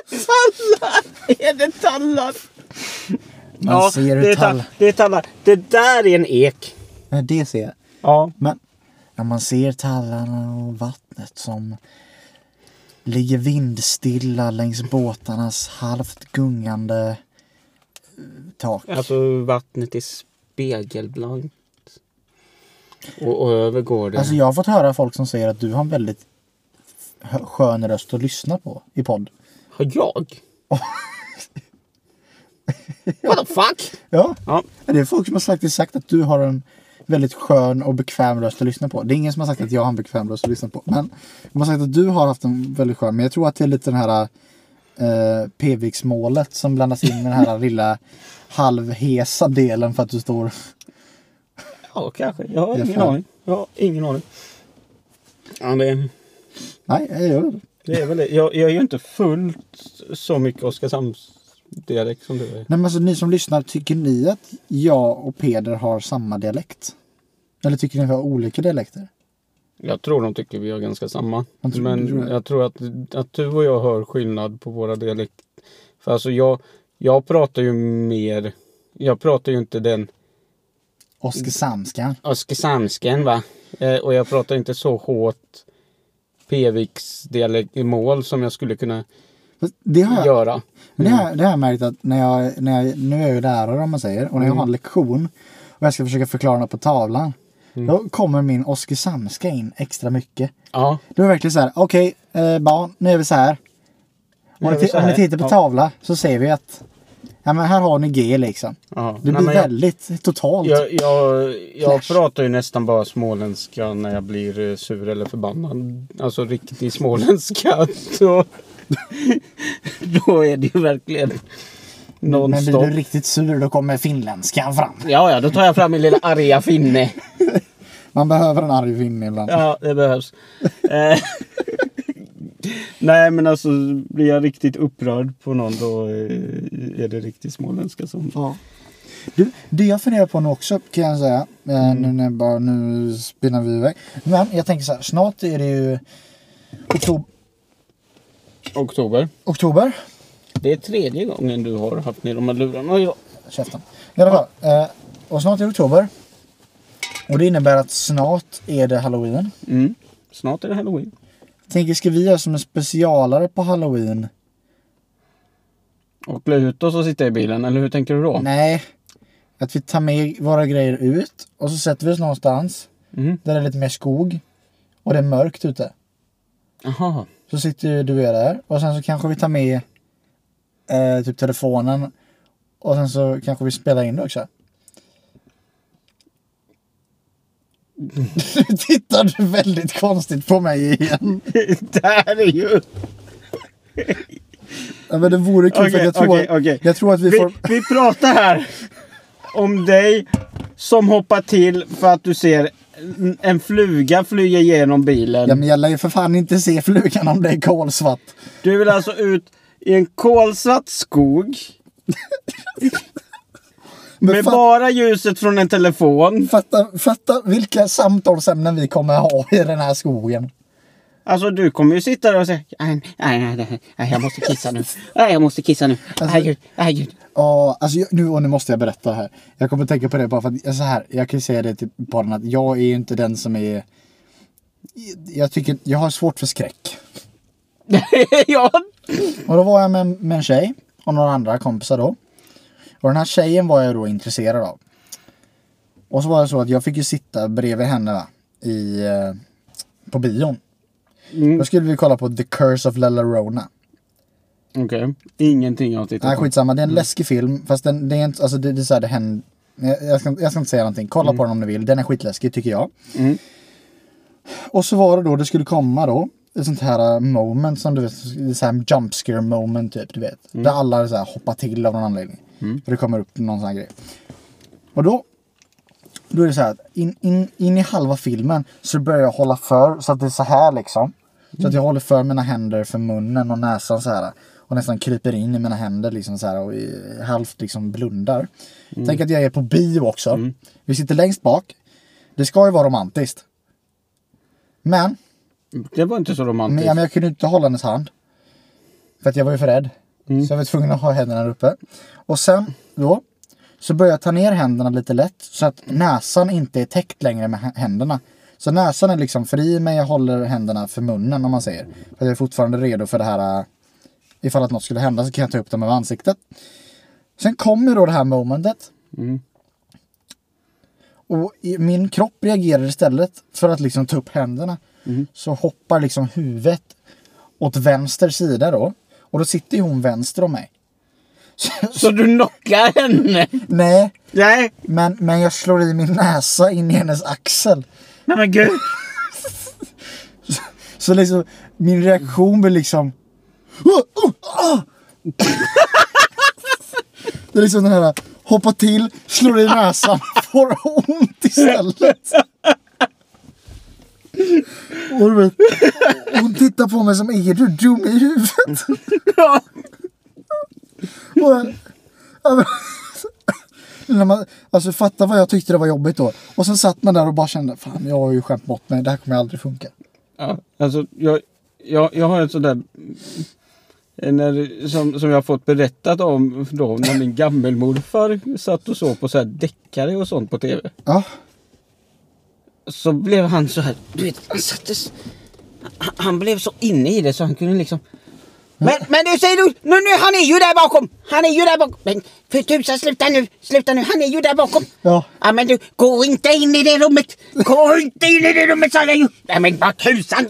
S1: tallar! Är det tallar?
S2: Man ser hur
S1: det är,
S2: tall...
S1: tall- det är tallar. Det där är en ek.
S2: Nej, det ser jag.
S1: Ja,
S2: Men när man ser tallarna och vattnet som ligger vindstilla längs båtarnas halvt gungande eh, tak.
S1: Alltså vattnet är spegelblankt. Och, och över går det.
S2: Alltså jag har fått höra folk som säger att du har en väldigt hö- skön röst att lyssna på i podd.
S1: Har jag? What the fuck?
S2: Ja,
S1: Ja,
S2: men det är folk som har sagt, sagt att du har en väldigt skön och bekväm röst att lyssna på. Det är ingen som har sagt att jag har en bekväm röst att lyssna på. Men de har sagt att du har haft en väldigt skön. Men jag tror att det är lite den här eh, P-viksmålet som blandas in med den här lilla halvhesa delen för att du står...
S1: ja kanske. Jag har
S2: Jag
S1: ingen
S2: fan.
S1: aning. Jag har ingen aning. Ja, det,
S2: Nej, jag gör det.
S1: det är väl det. Jag, jag är ju inte fullt så mycket Oskarshamnsdialekt som du är.
S2: Nej men alltså ni som lyssnar, tycker ni att jag och Peder har samma dialekt? Eller tycker ni att vi har olika dialekter?
S1: Jag tror de tycker vi är ganska samma.
S2: Jag tror-
S1: Men
S2: jag tror det.
S1: jag tror att, att du och jag hör skillnad på våra dialekter. För alltså jag, jag pratar ju mer... Jag pratar ju inte den
S2: Oskarshamnskan.
S1: Oskarshamnsken va. Eh, och jag pratar inte så hårt Peviks dialekt i mål som jag skulle kunna
S2: Fast Det har jag
S1: göra.
S2: Men det har, det har jag märkt att när jag, när jag, nu är jag ju lärare om man säger, och när jag
S1: Mm.
S2: har en lektion och jag ska försöka förklara något på tavlan.
S1: Mm.
S2: Då kommer min Oskarshamnska in extra mycket.
S1: Ja,
S2: Då är det verkligen så här, okej eh, barn, nu är vi så här.
S1: Nu
S2: Om
S1: är
S2: ni,
S1: vi
S2: ti-
S1: så
S2: om ni
S1: här,
S2: tittar på
S1: ja.
S2: tavla så ser vi att ja, men här har ni G liksom.
S1: ja.
S2: Det
S1: Nej,
S2: blir
S1: men jag-
S2: väldigt totalt.
S1: Jag, jag, jag
S2: Flash.
S1: pratar ju nästan bara småländska när jag blir eh, sur eller förbannad. Alltså riktig småländska. Då, då är det ju verkligen
S2: men blir
S1: nonstop.
S2: du riktigt sur då kommer finländskan fram.
S1: Ja, ja, då tar jag fram min lilla arga finne.
S2: Man behöver en arg finne ibland.
S1: Ja, det behövs. Eh, Nej, men alltså blir jag riktigt upprörd på någon då eh, är det riktigt småländska som...
S2: Ja. Du, det jag funderar på nu också kan jag säga. eh, Nu, när jag bara, nu spinner vi iväg. Men jag tänker så här, snart är det ju oktober.
S1: Oktober.
S2: oktober.
S1: Det är tredje gången du har haft ner de här lurarna och jag...
S2: Käften. I alla fall. Eh, och snart är det oktober. Och det innebär att snart är det halloween.
S1: Mm. Snart är det halloween.
S2: Tänker ska vi göra som en specialare på halloween?
S1: Och klä ut oss och sitta i bilen, eller hur tänker du då?
S2: Nej. Att vi tar med våra grejer ut och så sätter vi oss någonstans
S1: Mm.
S2: där det är lite mer skog och det är mörkt ute.
S1: Aha.
S2: Så sitter ju du och jag där och sen så kanske vi tar med eh, typ telefonen och sen så kanske vi spelar in det också. Nu tittar du väldigt konstigt på mig igen.
S1: det här är ju...
S2: Ja, men det vore kul för
S1: Okej,
S2: jag tror,
S1: okej, okej.
S2: jag tror att vi,
S1: Vi,
S2: får...
S1: vi pratar här om dig som hoppar till för att du ser en- en fluga flyga genom bilen.
S2: Ja, men jag lär ju för fan inte se flugan om det är kolsvart.
S1: Du vill alltså ut i en kolsvart skog
S2: Men
S1: med
S2: fan-
S1: bara ljuset från en telefon.
S2: Fatta, fatta vilka samtalsämnen vi kommer ha i den här skogen.
S1: Alltså du kommer ju sitta där och säga nej, nej, nej, nej, nej, jag måste kissa nu. Nej, jag måste kissa nu.
S2: Alltså-
S1: Nej, gud, nej, gud.
S2: Ja, alltså jag, nu, och nu måste jag berätta här. Jag kommer att tänka på det bara för att, alltså, så här, jag kan ju säga det till podden att jag är ju inte den som är... Jag tycker, jag har svårt för skräck.
S1: ja.
S2: Och då var jag med, med en tjej och några andra kompisar då. Och den här tjejen var jag då intresserad av. Och så var det så att jag fick ju sitta bredvid henne va, i, eh, på bion. Då skulle vi kolla på The Curse of La Llorona.
S1: Okej, ingenting jag har tittat
S2: Nej,
S1: på.
S2: skitsamma. Det är en läskig film. Fast den, det är inte, alltså det, det är så här, det händer. Jag, jag, ska, jag ska inte säga någonting. Kolla på den om ni vill. Den är skitläskig tycker jag.
S1: Mm.
S2: Och så var det då, det skulle komma då. Ett sånt här äh, moment som du vet, så här jump scare moment typ, du vet. Där alla så här hoppar till av någon anledning. För det kommer upp någon sån här grej. Och då, då är det så här att in, in, in i halva filmen så börjar jag hålla för så att det är så här liksom. Så att jag håller för mina händer för munnen och näsan så här. Och nästan kryper in i mina händer liksom så här och i, halvt liksom blundar. Tänk att jag är på bio också. Vi sitter längst bak. Det ska ju vara romantiskt. Men,
S1: Det var inte så
S2: men,
S1: romantiskt.
S2: ja, men jag kunde inte hålla hennes hand. För att jag var ju för rädd. Så jag var tvungen att ha händerna där uppe. Och sen då. Så började jag ta ner händerna lite lätt. Så att näsan inte är täckt längre med hä- händerna. Så näsan är liksom fri men jag håller händerna för munnen om man säger. För att jag är fortfarande redo för det här. äh, Ifall att något skulle hända så kan jag ta upp dem över ansiktet. Sen kommer då det här momentet.
S1: Mm.
S2: Och i, min kropp reagerar istället för att liksom ta upp händerna. Så hoppar liksom huvudet åt vänster sida då. Och då sitter ju hon vänster om mig. Så,
S1: Så
S2: så,
S1: du knockar henne?
S2: nej,
S1: Nej,
S2: men, men jag slår i min näsa in i hennes axel.
S1: nej men gud.
S2: Så liksom, min reaktion blir liksom... Oh, oh, ah! Det är liksom den här, hoppa till, slår i näsan, får ont istället. Och du vet, hon tittar på mig som, är du dum i huvudet?
S1: Ja.
S2: Och jag, ja, men- när man, alltså fatta vad jag tyckte det var jobbigt då. Och sen satt man där och bara kände, fan jag har ju skämt bort mig, det här kommer aldrig funka.
S1: Ja, alltså, jag, jag, jag har ett sånt där... eh, När, som, som jag har fått berättat om då, när min gammelmorfar satt och såg på så här deckare och sånt på tv.
S2: Ja.
S1: Så blev han så här, du vet, han sattes... Han, han blev så inne i det så han kunde liksom... Men, men du säger du, nu, nu, han är ju där bakom! Han är ju där bakom! Men för tusan, sluta nu! Sluta nu, han är ju där bakom!
S2: Ja.
S1: Ja men du, gå inte in i det rummet! Gå inte in i det rummet sa jag ju! Nej men vad tusan!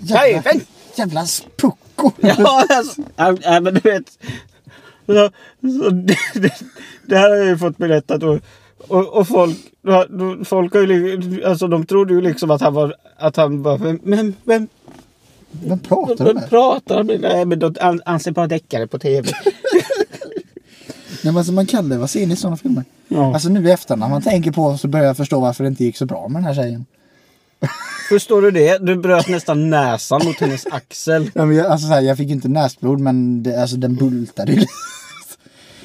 S2: Jävla,
S1: Böven!
S2: jävla pucko.
S1: Ja, alltså, ja, ja, men du vet. Så, så det, det, det här har jag ju fått berättat och, och, och folk, då- då- folk har ju, li- alltså de trodde ju liksom att han var, att han var, men vem, vem,
S2: Vem pratar du
S1: vem
S2: med?
S1: pratar han med? Nej men då an- anser bara deckare på tv.
S2: Nej, men alltså, man kan leva sig in i sådana filmer.
S1: Ja.
S2: Alltså nu i efterhand när man tänker på så börjar jag förstå varför det inte gick så bra med den här tjejen.
S1: Förstår du det? Du bröt nästan näsan mot hennes axel.
S2: Ja, men jag, alltså, så här, jag fick ju inte näsblod men det, alltså, den bultade ju. lite.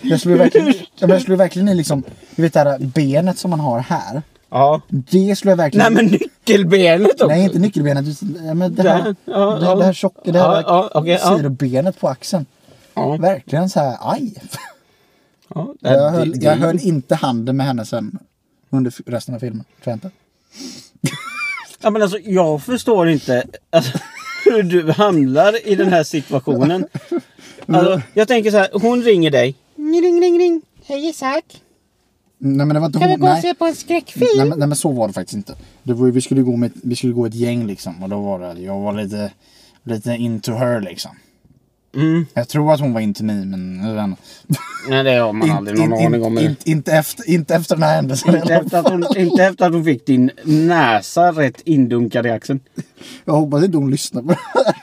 S2: Jag slog verkligen, ja, men jag slog verkligen i liksom, du vet det här benet som man har här.
S1: Ja.
S2: Det slog jag verkligen
S1: Nej men nyckelbenet också!
S2: Nej, inte nyckelbenet. utan- ja, Men det
S1: Där,
S2: här,
S1: ja,
S2: det,
S1: ja.
S2: det här tjocka, det
S1: Ja,
S2: här
S1: ja, okej, ja.
S2: sidobenet på axeln.
S1: Ja.
S2: Verkligen så här, aj.
S1: Ja, det-
S2: Jag höll,
S1: Eh, det-
S2: jag höll inte handen med henne sen under f- resten av filmen. Tror jag inte.
S1: Ja, men alltså, jag förstår inte alltså, hur du hamnar i den här situationen.
S2: Mm.
S1: Alltså, jag tänker så här, hon ringer dig. Ring, ring, ring. Hej Isak.
S2: Nej men det var inte
S1: Kan vi
S2: hon.
S1: gå och
S2: Nej.
S1: se på en
S2: Nej,
S1: skräckfilm?
S2: men, nej men så var det faktiskt inte. Det var, ju- vi, skulle gå med, vi skulle gå ett gäng liksom och då var det, jag var lite, lite into her liksom.
S1: Mm.
S2: Jag tror att hon var into me men jag vet inte.
S1: Nej, det har man aldrig någon
S2: In- in-
S1: aning om.
S2: in-
S1: Inte
S2: inte, efter, inte efter den här händelsen. i alla
S1: efter, att hon,
S2: fall.
S1: inte efter att hon fick din näsa rätt indunkad i axeln.
S2: Jag hoppas inte hon lyssnar på det här.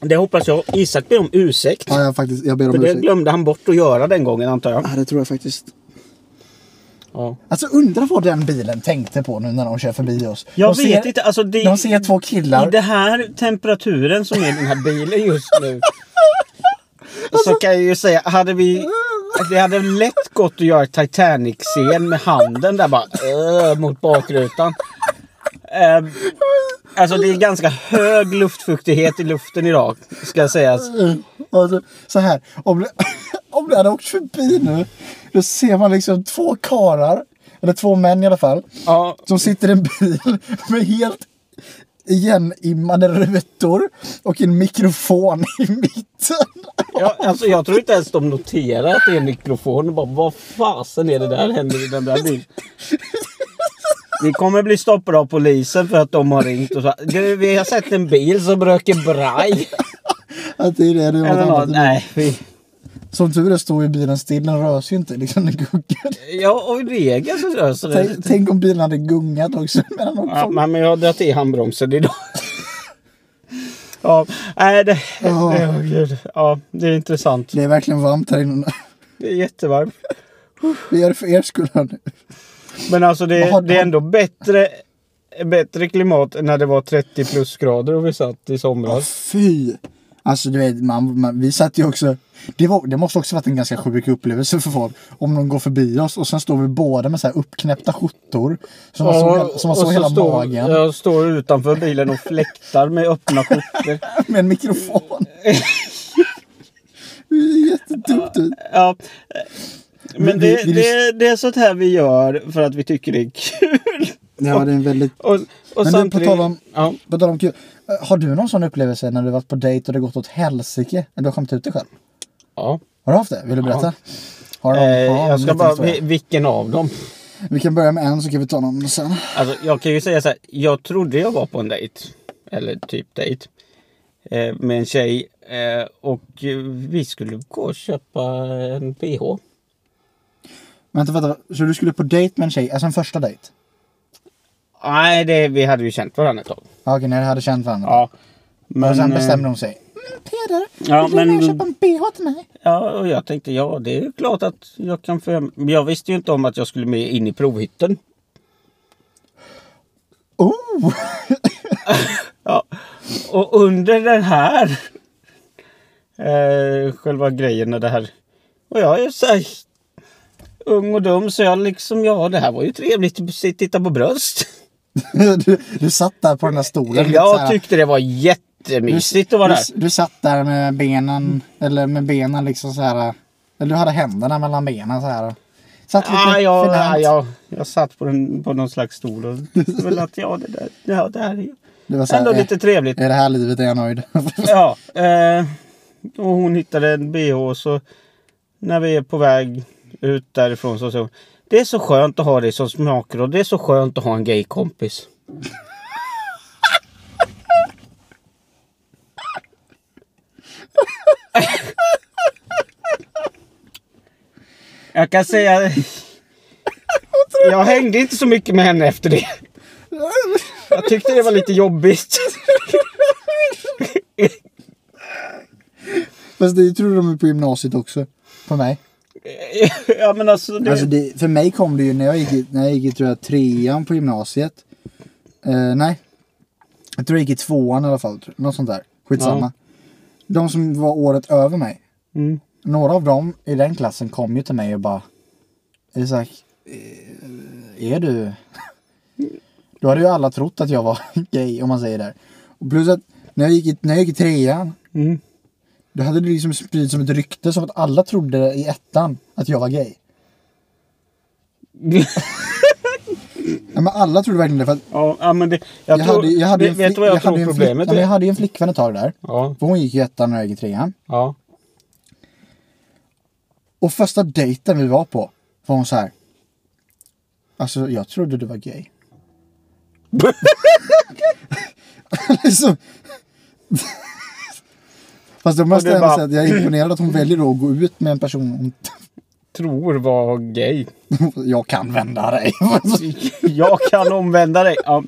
S1: Det hoppas jag. Isak ber om ursäkt.
S2: Ja, jag, faktiskt, jag ber
S1: För
S2: om
S1: det
S2: ursäkt.
S1: glömde han bort att göra den gången antar jag.
S2: Ja, det tror jag faktiskt.
S1: Ja.
S2: Alltså undra vad den bilen tänkte på nu när de kör förbi oss.
S1: Jag
S2: de
S1: vet
S2: ser,
S1: inte. Alltså, det,
S2: De ser två killar.
S1: I den här temperaturen som är i den här bilen just nu. Så kan jag ju säga, hade vi... Det hade lätt gått att göra Titanic-scen med handen där bara öh, mot bakrutan. Eh, alltså det är ganska hög luftfuktighet i luften idag, ska sägas.
S2: Alltså, så här. Om det, om det hade åkt förbi nu. Då ser man liksom två karar. Eller två män i alla fall.
S1: Ja,
S2: Som sitter i en bil med helt igenimmade rutor. Och en mikrofon i mitten.
S1: jag, alltså, jag tror inte ens de noterar att det är en mikrofon. De Bara, vad fasen är det där händer i den där bilen? Vi kommer bli stoppade av polisen för att de har ringt och sagt du vi har sett en bil som röker braj.
S2: Att det är det, det är
S1: Eller
S2: något
S1: något.
S2: annat.
S1: Nej, vi...
S2: Som tur är står ju bilen still. Den rör sig ju inte. Liksom, den gungar.
S1: Ja, och i regel så löser det
S2: Tänk, tänk om bilen hade gungat också. Medan de
S1: Ja, men men jag har dragit i handbromsen idag. Ja, nej det... det
S2: Ja.
S1: åh, gud. Ja, det är intressant.
S2: Det är verkligen varmt här inne.
S1: Det är jättevarmt.
S2: Vi gör det för er skull hörni.
S1: Men alltså det,
S2: Vad har-
S1: det är ändå bättre, bättre klimat än när det var 30 plus grader och vi satt i
S2: Åh,
S1: somras.
S2: Fy! Alltså du vet, man, man, vi satt ju också... Det, var, det måste också varit en ganska sjuk upplevelse för folk. Om de går förbi oss och sen står vi båda med så här uppknäppta skjortor. Som man såg, hela- som man
S1: och
S2: såg
S1: så
S2: hela
S1: står-
S2: magen.
S1: Jag står utanför bilen och fläktar med öppna skjortor.
S2: Med en mikrofon. det är jättedumt typ. ut.
S1: Ja. Men
S2: Vi-
S1: det,
S2: vi-
S1: det, det är sånt här vi gör för att vi tycker det är kul.
S2: Ja, det är en väldigt...
S1: Och, och
S2: Men du, på
S1: samtidigt...
S2: tal om-
S1: Ja.
S2: På tal om kul. eh, Har du någon sån upplevelse när du varit på dejt och det gått åt helsike? När du har skämt ut dig själv?
S1: ja.
S2: Har du haft det? Vill du berätta? Har du,
S1: Eh,
S2: har du en
S1: jag ska
S2: liten
S1: bara...
S2: historia?
S1: vi- Vilken av dem?
S2: Vi kan börja med en så kan vi ta någon sen.
S1: Alltså, jag kan ju säga så här. Jag trodde jag var på en dejt. Eller typ dejt. Eh, med en tjej. Eh, och eh, vi skulle gå och köpa en bh.
S2: Vänta, vänta. Så du skulle på dejt med en tjej? Alltså en första dejt?
S1: Nej, det, vi hade ju känt varandra ett tag.
S2: Ja, Okej, när du hade känt varandra.
S1: Ja.
S2: och sen
S1: eh,
S2: bestämde hon sig. Mm, Peder,
S1: Ja,
S2: vill du
S1: men-
S2: men... köpa en bh till mig?
S1: Ja, och jag tänkte ja, det är ju klart att jag kan få hem. Men jag visste ju inte om att jag skulle med in i provhytten.
S2: Oh!
S1: Ja. Och under den här eh, själva grejen när det här. Och jag är så här ung och dum så jag liksom ja, det här var ju trevligt att se- titta på bröst.
S2: du, du satt där på den där stolen. lite så
S1: Jag
S2: här.
S1: tyckte det var
S2: Du-
S1: jättemysigt att vara där.
S2: Du, du satt där med benen, eller med benen liksom så här. Eller du hade händerna mellan benen så här. Satt lite
S1: Ah, jag,
S2: genant.
S1: ah, jag, jag satt på, den, på någon slags stol och väl att ja, det där, ja, det här är ju
S2: Det var så här,
S1: ändå
S2: eh,
S1: lite trevligt.
S2: Är det här livet är jag nöjd?
S1: Ja, eh, och hon hittade en bh så när vi är på väg ut därifrån så säger hon Det är så skönt att ha dig som smaker och det är så skönt att ha en gaykompis. Jag kan säga... Jag hängde inte så mycket med henne efter det. Jag tyckte det var lite jobbigt.
S2: Fast det tror de ju på gymnasiet också. På mig.
S1: Ja men alltså... Det...
S2: Alltså det, för mig kom det ju när jag gick, i- när jag gick i tror jag, trean på gymnasiet. Eh, nej. Jag tror det gick i tvåan i alla fall. tror- Något sånt där. Skitsamma. De som var året över mig.
S1: Mm.
S2: Några av dem i den klassen kom ju till mig och bara Isak, eh, är du... Då hade ju alla trott att jag var gay om man säger det. Och plus att när jag gick i, när jag gick i trean
S1: Mm.
S2: då hade det liksom spridits som ett rykte som att alla trodde i ettan att jag var gay. Ja, men alla trodde verkligen det för att
S1: ja, ja, men det, jag,
S2: jag,
S1: tror,
S2: hade, jag hade
S1: vet, vet du vad jag,
S2: hade
S1: tror
S2: en flick-
S1: problemet
S2: ja, men
S1: är?
S2: jag hade ju en flickvän ett tag där.
S1: Ja,
S2: För hon gick i ettan och jag gick i trean.
S1: ja.
S2: Och första dejten vi var på var hon så här. Alltså jag trodde du var gay. liksom. Fast då måste
S1: Och
S2: jag
S1: du
S2: ändå
S1: bara-
S2: säga att jag är imponerad att hon väljer då att gå ut med en person hon
S1: Tror var gay.
S2: jag kan vända dig.
S1: jag kan omvända dig. Ja.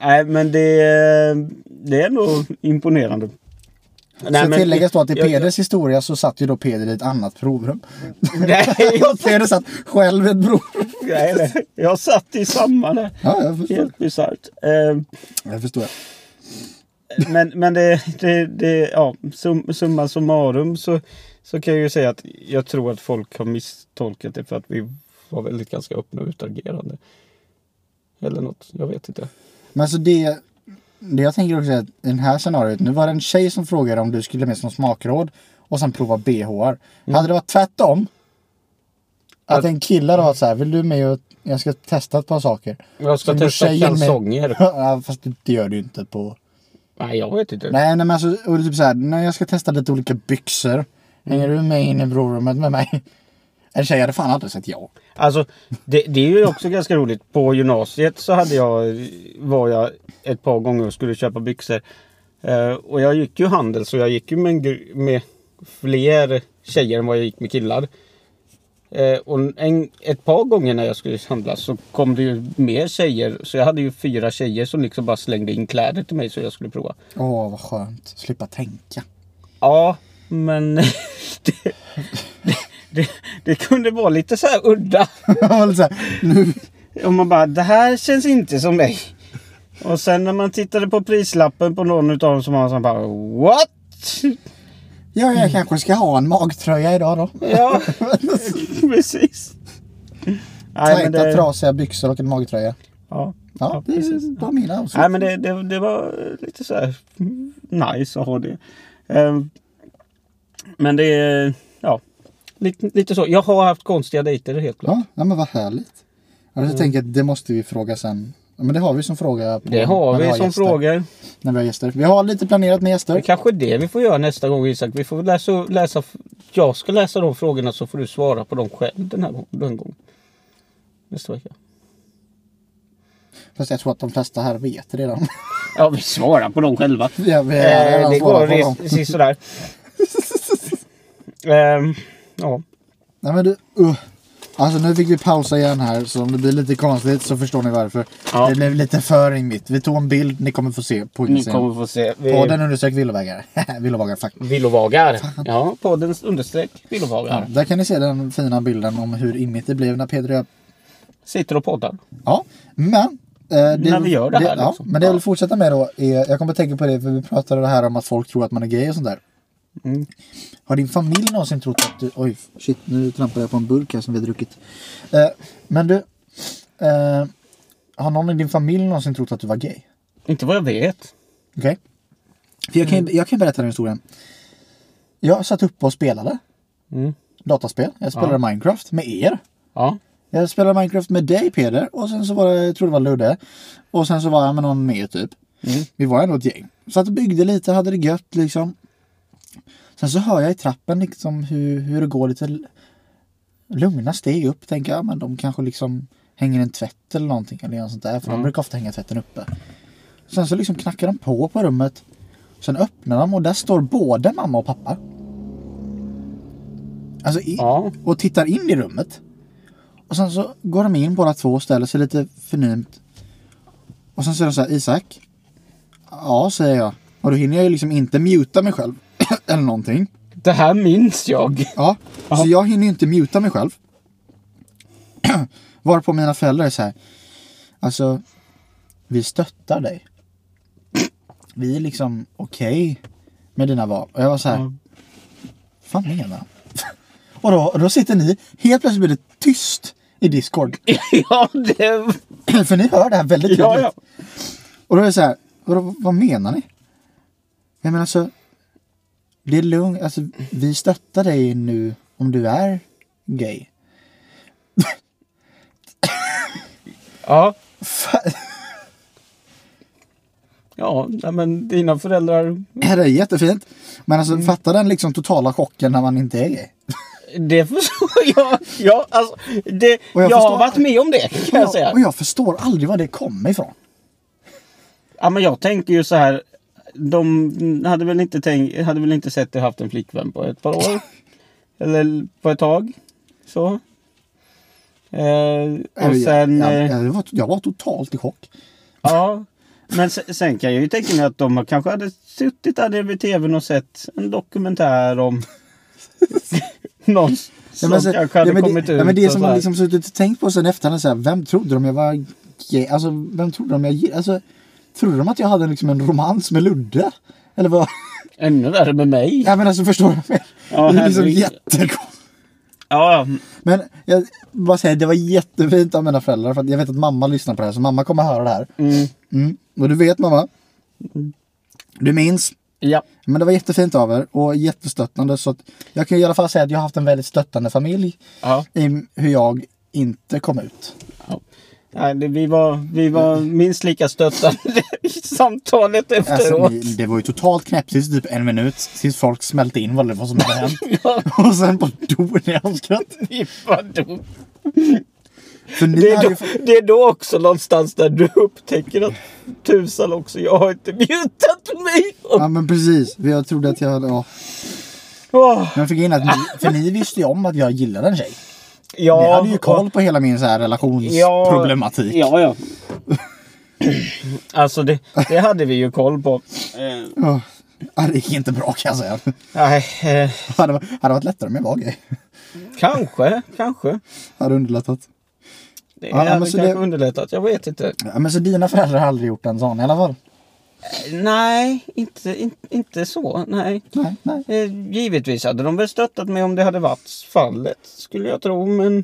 S1: Nej, men det, det är nog imponerande. Nej,
S2: så
S1: men-
S2: tilläggas då att i
S1: jag-
S2: Peders historia så satt ju då Peder i ett annat provrum.
S1: Nej, jag,
S2: Peder satt själv i ett provrum.
S1: nej, nej, jag satt i samma där.
S2: Ja, jag förstår.
S1: Helt bisarrt. Eh,
S2: Jag förstår.
S1: Men, men det, det, det ja, sum, summa summarum så, så kan jag ju säga att jag tror att folk har misstolkat det för att vi var väldigt ganska öppna och utagerande. Eller något, jag vet inte.
S2: Men alltså det, det jag tänker också är att i den här scenariot, nu var det en tjej som frågade om du skulle med som smakråd och sen prova BHR. Hade det varit tvärtom? Att
S1: Att-
S2: en kille hade varit så här, vill du med och jag ska testa ett par saker.
S1: Jag ska
S2: Sen går
S1: testa
S2: tjejen med-
S1: kalsonger.
S2: Ja, Fast det gör du ju inte på...
S1: Nej, jag vet inte.
S2: Nej, nej men alltså, och det är typ så här, nej, jag ska testa lite olika byxor. Hänger du med in i provrummet med mig? En tjej hade fan aldrig sett ja.
S1: Alltså, det, det är ju också ganska roligt. På gymnasiet så hade jag, var jag ett par gånger och skulle köpa byxor. Eh, och jag gick ju handel så jag gick ju med, en gru- med fler tjejer än vad jag gick med killar. Eh, och en, ett par gånger när jag skulle handla så kom det ju mer tjejer. Så jag hade ju fyra tjejer som liksom bara slängde in kläder till mig så jag skulle prova.
S2: Åh, vad skönt. Slippa tänka.
S1: Ja, men det, det, det, det kunde vara lite så här udda.
S2: Eller så här, nu,
S1: Och man bara, det här känns inte som dig. Och sen när man tittade på prislappen på någon utav dem så var man så bara, what?
S2: ja,
S1: Mm.
S2: jag kanske ska ha en magtröja idag då.
S1: Ja, precis. Nej, men
S2: Tajta,
S1: det,
S2: trasiga byxor och en magtröja.
S1: ja,
S2: Ja,
S1: Ja,
S2: det
S1: precis.
S2: var mina outfits.
S1: nej, men det, det, det var lite så här mm, nice att ha det. Ehm, Men det är, ja, lite, lite så. Jag har haft konstiga dejter helt klart.
S2: Ja, nej, men vad härligt. Ja,
S1: Mm.
S2: Jag tänker att det måste vi fråga sen. Ja, Men det har vi som fråga. På,
S1: Det har
S2: när
S1: vi som
S2: gäster.
S1: frågor.
S2: När vi har gäster. Vi har lite planerat med
S1: Det är
S2: gäster.
S1: kanske är det vi får göra nästa gång Isak. Vi får väl läsa, läsa, jag ska läsa de frågorna så får du svara på dem själv den här gången. Den gången. Nästa vecka.
S2: Fast jag tror att de flesta här vet redan.
S1: Ja, vi svarar på dem själva.
S2: Ja, vi har
S1: Eh,
S2: redan
S1: det går
S2: svarat på
S1: res-
S2: dem.
S1: precis sådär. Ehm, ja.
S2: Nej men du, uh. Alltså nu fick vi pausa igen här så om det blir lite konstigt så förstår ni varför.
S1: Ja.
S2: Det blev lite för rimligt. Vi tog en bild ni kommer få se på
S1: Ni
S2: Instagram.
S1: kommer få se. Vi,
S2: Podden undersök villovägar. villovägar fuck.
S1: Villovagar. Ja, poddens understreck Villovagar.
S2: Där kan ni se den fina bilden om hur immigt det blev när Peder och jag
S1: Sitter och poddar.
S2: Ja, men... eh,
S1: När vi gör det här,
S2: ja,
S1: liksom.
S2: Men det jag
S1: Ja.
S2: vill fortsätta med då är, jag kommer att tänka på det för vi pratade det här om att folk tror att man är gay och sånt där.
S1: Mm.
S2: Har din familj någonsin trott att du... Oj, shit nu trampade jag på en burk här som vi har druckit. Eh, men du, eh, har någon i din familj någonsin trott att du var gay?
S1: Inte vad jag vet.
S2: Okej? För jag kan,
S1: Mm.
S2: ju- jag kan berätta den historien. Jag satt uppe och spelade
S1: Mm.
S2: dataspel. Jag spelade Minecraft med er.
S1: Ja.
S2: Jag spelade Minecraft med dig Peder och sen så var det, jag tror det var Ludde. Och sen så var jag med någon mer typ. Vi var ändå ett gäng. Så att byggde lite, hade det gött liksom. Sen så hör jag i trappen liksom hur, hur det går lite l- lugna steg upp. Tänker jag, men de kanske liksom hänger en tvätt eller någonting. Eller något sånt där. För de brukar ofta hänga tvätten uppe. Sen så liksom knackar de på på rummet. Sen öppnar de och där står både mamma och pappa. Alltså i,
S1: Ja.
S2: och tittar in i rummet. Och sen så går de in båda två och ställer sig lite förnymt. Och sen säger de så här, Isak. Ja, säger jag. Och då hinner jag ju liksom inte muta mig själv. eller någonting.
S1: Det här minns jag.
S2: Ja, så jag hinner ju inte muta mig själv. Varpå mina föräldrar är så här. Alltså, vi stöttar dig. Vi är liksom okej med dina val. Och jag var så här,
S1: Ja.
S2: fan menar han? Och då, då sitter ni, helt plötsligt blir det tyst i Discord.
S1: ja, det...
S2: För ni hör det här väldigt tydligt.
S1: Ja, ja.
S2: Och då är det så här, vad, vad menar ni? Jag menar alltså, det är lugnt, alltså vi stöttar dig nu om du är gay.
S1: Ja.
S2: Fan,
S1: Ja, nej, men dina föräldrar.
S2: det här är jättefint. Men
S1: Mm.
S2: alltså fatta den liksom totala chocken när man inte är gay.
S1: Det förstår jag. Ja, alltså, det,
S2: Och jag
S1: jag har
S2: förstår-
S1: varit med om det kan jag
S2: Och
S1: säga.
S2: jag, och jag förstår aldrig var det kommer ifrån.
S1: Ja, men jag tänker ju så här. De hade väl inte, tänkt, hade väl inte sett dig haft en flickvän på ett par år. Eller på ett tag. Så. Eh, och sen...
S2: jag,
S1: eh,
S2: jag, jag, var, jag var totalt i chock.
S1: Ja. Men sen, sen kan jag ju tänka mig att de har- kanske hade suttit där nere vid tvn och sett en dokumentär om någon som
S2: så-
S1: kanske hade
S2: ja, men
S1: kommit
S2: det,
S1: ut.
S2: ja, men det
S1: och
S2: som
S1: så
S2: man
S1: här.
S2: liksom suttit och tänkt på sen efterhand. Så här, vem trodde de jag var gay? Alltså vem trodde de jag gill- Alltså trodde de att jag hade liksom en romans med Ludde? Eller vad?
S1: Ännu värre med mig.
S2: Ja men alltså förstår du?
S1: Ja,
S2: det är liksom
S1: herregud.
S2: jättekonstigt.
S1: Ja, mm,
S2: Men jag bara säger, det var jättefint av mina föräldrar. För att jag vet att mamma lyssnar på det här. Så mamma kommer höra det här.
S1: mm,
S2: Mm. Och du vet mamma. Du minns.
S1: ja.
S2: Men det var jättefint av er och jättestöttande. Så att jag kan i alla fall säga att jag har haft en väldigt stöttande familj
S1: ja.
S2: i hur jag inte kom ut.
S1: ja. Nej, det, vi, var, vi var minst lika stöttande i samtalet efteråt.
S2: Mm. Alltså, ni- det var ju totalt knäpptyst typ en minut tills folk smälte in vad det var som hade hänt. Och sen bara dog ni av skratt.
S1: Vi var dum.
S2: För ni
S1: det, är
S2: hade
S1: då,
S2: ju... fa-
S1: det är då också någonstans där du upptäcker att tusan också, jag har inte mutat mig. Och,
S2: Ja men precis. För Jag trodde att jag hade... Ja.
S1: Åh,
S2: Men jag fick in att ni, för ni visste ju om att jag gillade en tjej.
S1: ja,
S2: ni hade ju
S1: och-
S2: koll på hela min så här relationsproblematik.
S1: Ja, ja. Alltså det, det hade vi ju koll på. Eh,
S2: Ja. Ja, Det gick inte bra kan jag säga.
S1: nej, eh,
S2: Det hade, hade varit lättare om jag var gay.
S1: kanske, kanske.
S2: Det hade underlättat.
S1: Det
S2: Ja, men
S1: hade
S2: så
S1: kanske
S2: det-
S1: underlättat, jag vet inte.
S2: Ja, men så dina föräldrar har aldrig gjort en sån i alla fall?
S1: Nej, inte, in, inte så. Nej.
S2: Nej, nej.
S1: Eh, givetvis hade de väl stöttat mig om det hade varit fallet, skulle jag tro. Men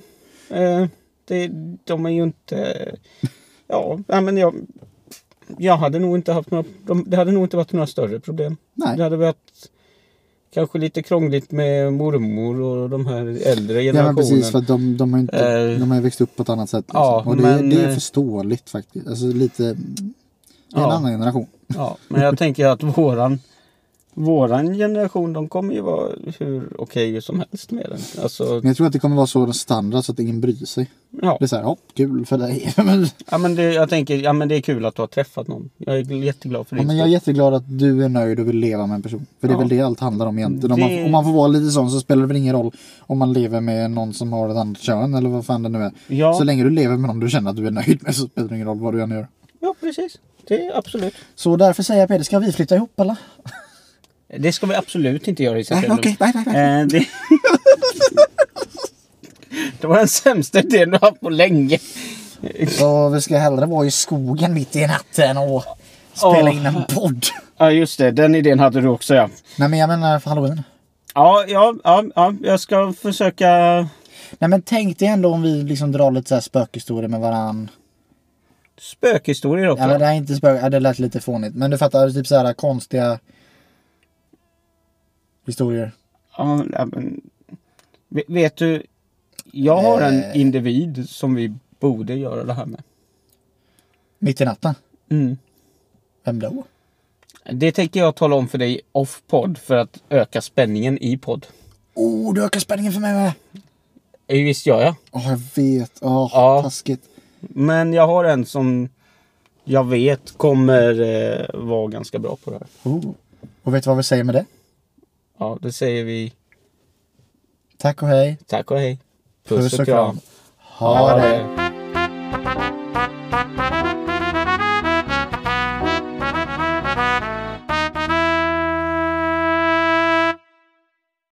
S1: eh, det, de är ju inte... Ja, nej, men jag... Jag hade nog inte haft några... De, det hade nog inte varit några större problem.
S2: Nej.
S1: Det hade varit kanske lite krångligt med mormor och de här äldre
S2: Ja men
S1: generationen.
S2: precis för att de, de, har, ju inte,
S1: Eh.
S2: de har ju växt upp på ett annat sätt. Liksom.
S1: Ja,
S2: och det,
S1: men,
S2: det är
S1: eh,
S2: förståeligt faktiskt. Alltså lite, det är en
S1: Ja.
S2: annan generation.
S1: Ja, men jag tänker att våran... Våran generation, de kommer ju vara hur okej som helst med den. Alltså,
S2: Men jag tror att det kommer vara så standard så att ingen bryr sig.
S1: ja.
S2: Det är så här, ja, kul för dig. men,
S1: Ja men det, jag tänker, ja men det är kul att du har träffat någon. Jag är gl- jätteglad för
S2: ja,
S1: din
S2: men jag är jätteglad att du är nöjd och vill leva med en person. För det är
S1: Ja.
S2: väl det allt handlar om egentligen. Om,
S1: Det-
S2: man, om man får vara lite sån så spelar det väl ingen roll om man lever med någon som har ett annat kön eller vad fan det nu är.
S1: skull. ja,
S2: Så länge du lever med någon du känner att du är nöjd med så spelar det ingen roll vad du än gör.
S1: ja, precis. Det är absolut.
S2: Så därför säger jag Peder, ska vi flytta ihop eller?
S1: Det ska vi absolut inte göra i
S2: Nej,
S1: september.
S2: okej, nej, nej, nej.
S1: Eh, det... det var den sämsta idén du har haft på länge.
S2: Så vi ska hellre vara i skogen mitt i natten och spela
S1: Åh.
S2: in en podd.
S1: Ja just det, den idén hade du också ja.
S2: Nej men jag menar för halloween.
S1: Ja, ja, ja, ja jag ska försöka.
S2: Nej men tänk dig ändå om vi liksom drar lite så här spökhistorier med varann.
S1: Spökhistorier också.
S2: Eller det är inte spök, ja, det lät lite fånigt. Men du fattar, typ så här konstiga historier.
S1: Ja, nej, men... Ve- Vet du, jag har en
S2: Eh.
S1: individ som vi borde göra det här med.
S2: Mitt i natten.
S1: Mm.
S2: Vem då?
S1: Det tänker jag tala om för dig off-podd för att öka spänningen i podd.
S2: Oh, du ökar spänningen för mig med.
S1: Eh, Visst gör jag.
S2: Åh, jag vet. Åh,
S1: Ja.
S2: taskigt.
S1: Men jag har en som jag vet kommer eh, vara ganska bra på det här.
S2: Oh. Och vet du vad vi säger med det?
S1: Ja, det säger vi
S2: Tack och hej.
S1: tack och hej.
S2: Puss och kram. Ha det.
S1: det.